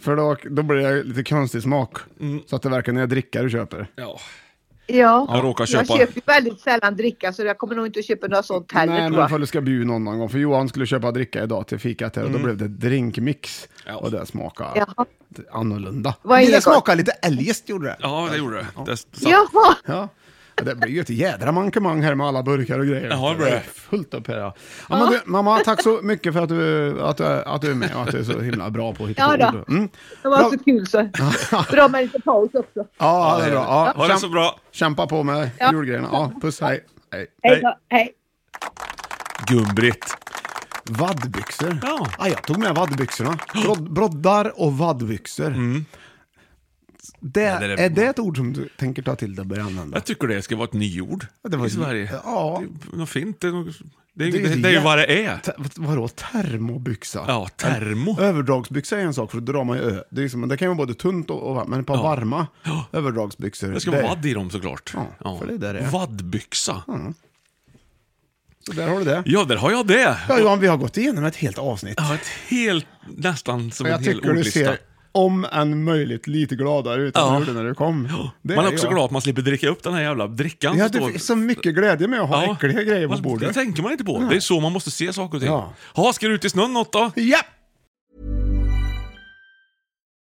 [SPEAKER 2] För då, då blir det lite konstig smak.
[SPEAKER 3] Mm.
[SPEAKER 2] Så att det verkar när jag dricker du köper.
[SPEAKER 3] Ja.
[SPEAKER 14] Ja,
[SPEAKER 3] Jag råkar köpa-
[SPEAKER 14] jag köper ju väldigt sällan dricka så jag kommer nog inte att köpa något sånt heller
[SPEAKER 2] Nej,
[SPEAKER 14] tror
[SPEAKER 2] men
[SPEAKER 14] jag.
[SPEAKER 2] för du ska bjuda någon någon gång. För Johan skulle köpa dricka idag till fikat här och då blev det drinkmix.
[SPEAKER 3] Mm. Ja.
[SPEAKER 2] Och det smakade
[SPEAKER 14] Jaha.
[SPEAKER 2] annorlunda.
[SPEAKER 14] Vad är
[SPEAKER 2] det
[SPEAKER 14] det
[SPEAKER 2] smakade lite eljest gjorde det.
[SPEAKER 3] Ja, det gjorde det. det satt-
[SPEAKER 14] Jaha!
[SPEAKER 2] Ja. Ja, Det blir ju ett jädra mankemang här med alla burkar och grejer.
[SPEAKER 3] Ja, det blir det.
[SPEAKER 2] är fullt upp här. Ja. Ja, men du, mamma, tack så mycket för att du, att, du, att du är med och att du är så himla bra på att hitta
[SPEAKER 14] Ja
[SPEAKER 2] på
[SPEAKER 14] då.
[SPEAKER 2] ord. Mm.
[SPEAKER 14] Det var så kul så. Dra mig lite paus också.
[SPEAKER 2] Ja, det är bra. Ja,
[SPEAKER 3] Ha det
[SPEAKER 2] käm-
[SPEAKER 3] så bra.
[SPEAKER 2] Kämpa på med
[SPEAKER 14] Ja.
[SPEAKER 2] julgrejerna. Ja, puss, hej. hej.
[SPEAKER 14] Hej då. Hej.
[SPEAKER 3] Gun-Britt.
[SPEAKER 2] Vaddbyxor.
[SPEAKER 3] Ja.
[SPEAKER 2] jag tog med vaddbyxorna. Brod- broddar och vaddbyxor. Det,
[SPEAKER 3] Mm. det är-
[SPEAKER 2] är det ett ord som du tänker ta till dig och börja använda?
[SPEAKER 3] Jag tycker det ska vara ett nyord
[SPEAKER 2] det var-
[SPEAKER 3] i Sverige.
[SPEAKER 2] Ja.
[SPEAKER 3] Det är något fint. Det är, något, det, är, det, det är ju vad det är.
[SPEAKER 2] Te- vadå, termobyxa?
[SPEAKER 3] Ja, termo.
[SPEAKER 2] En överdragsbyxa är en sak, för då drar man ju ö. Det, är liksom, det kan ju vara både tunt och, och varmt, men ett par varma överdragsbyxor.
[SPEAKER 3] Det ska vara vadd i dem såklart.
[SPEAKER 2] Ja, för det är där det är.
[SPEAKER 3] Vaddbyxa.
[SPEAKER 2] Så där har du det.
[SPEAKER 3] Ja, där har jag det.
[SPEAKER 2] Ja, Johan, vi har gått igenom ett helt avsnitt.
[SPEAKER 3] Ja, ett helt, nästan som
[SPEAKER 2] Och jag
[SPEAKER 3] en hel
[SPEAKER 2] tycker du
[SPEAKER 3] ordlista.
[SPEAKER 2] ser, om än möjligt, lite gladare ut än
[SPEAKER 3] Ja.
[SPEAKER 2] du gjorde när du kom. Det
[SPEAKER 3] man är också
[SPEAKER 2] jag.
[SPEAKER 3] glad att man slipper dricka upp den här jävla drickan
[SPEAKER 2] Jag
[SPEAKER 3] som
[SPEAKER 2] hade
[SPEAKER 3] står...
[SPEAKER 2] så mycket glädje med att ha
[SPEAKER 3] Ja.
[SPEAKER 2] äckliga grejer på
[SPEAKER 3] Man- Det
[SPEAKER 2] bordet.
[SPEAKER 3] tänker man inte på.
[SPEAKER 2] Nej.
[SPEAKER 3] Det är så man måste se saker och ting.
[SPEAKER 2] Ja.
[SPEAKER 3] Ja. ska du ut i snön något då?
[SPEAKER 2] Ja!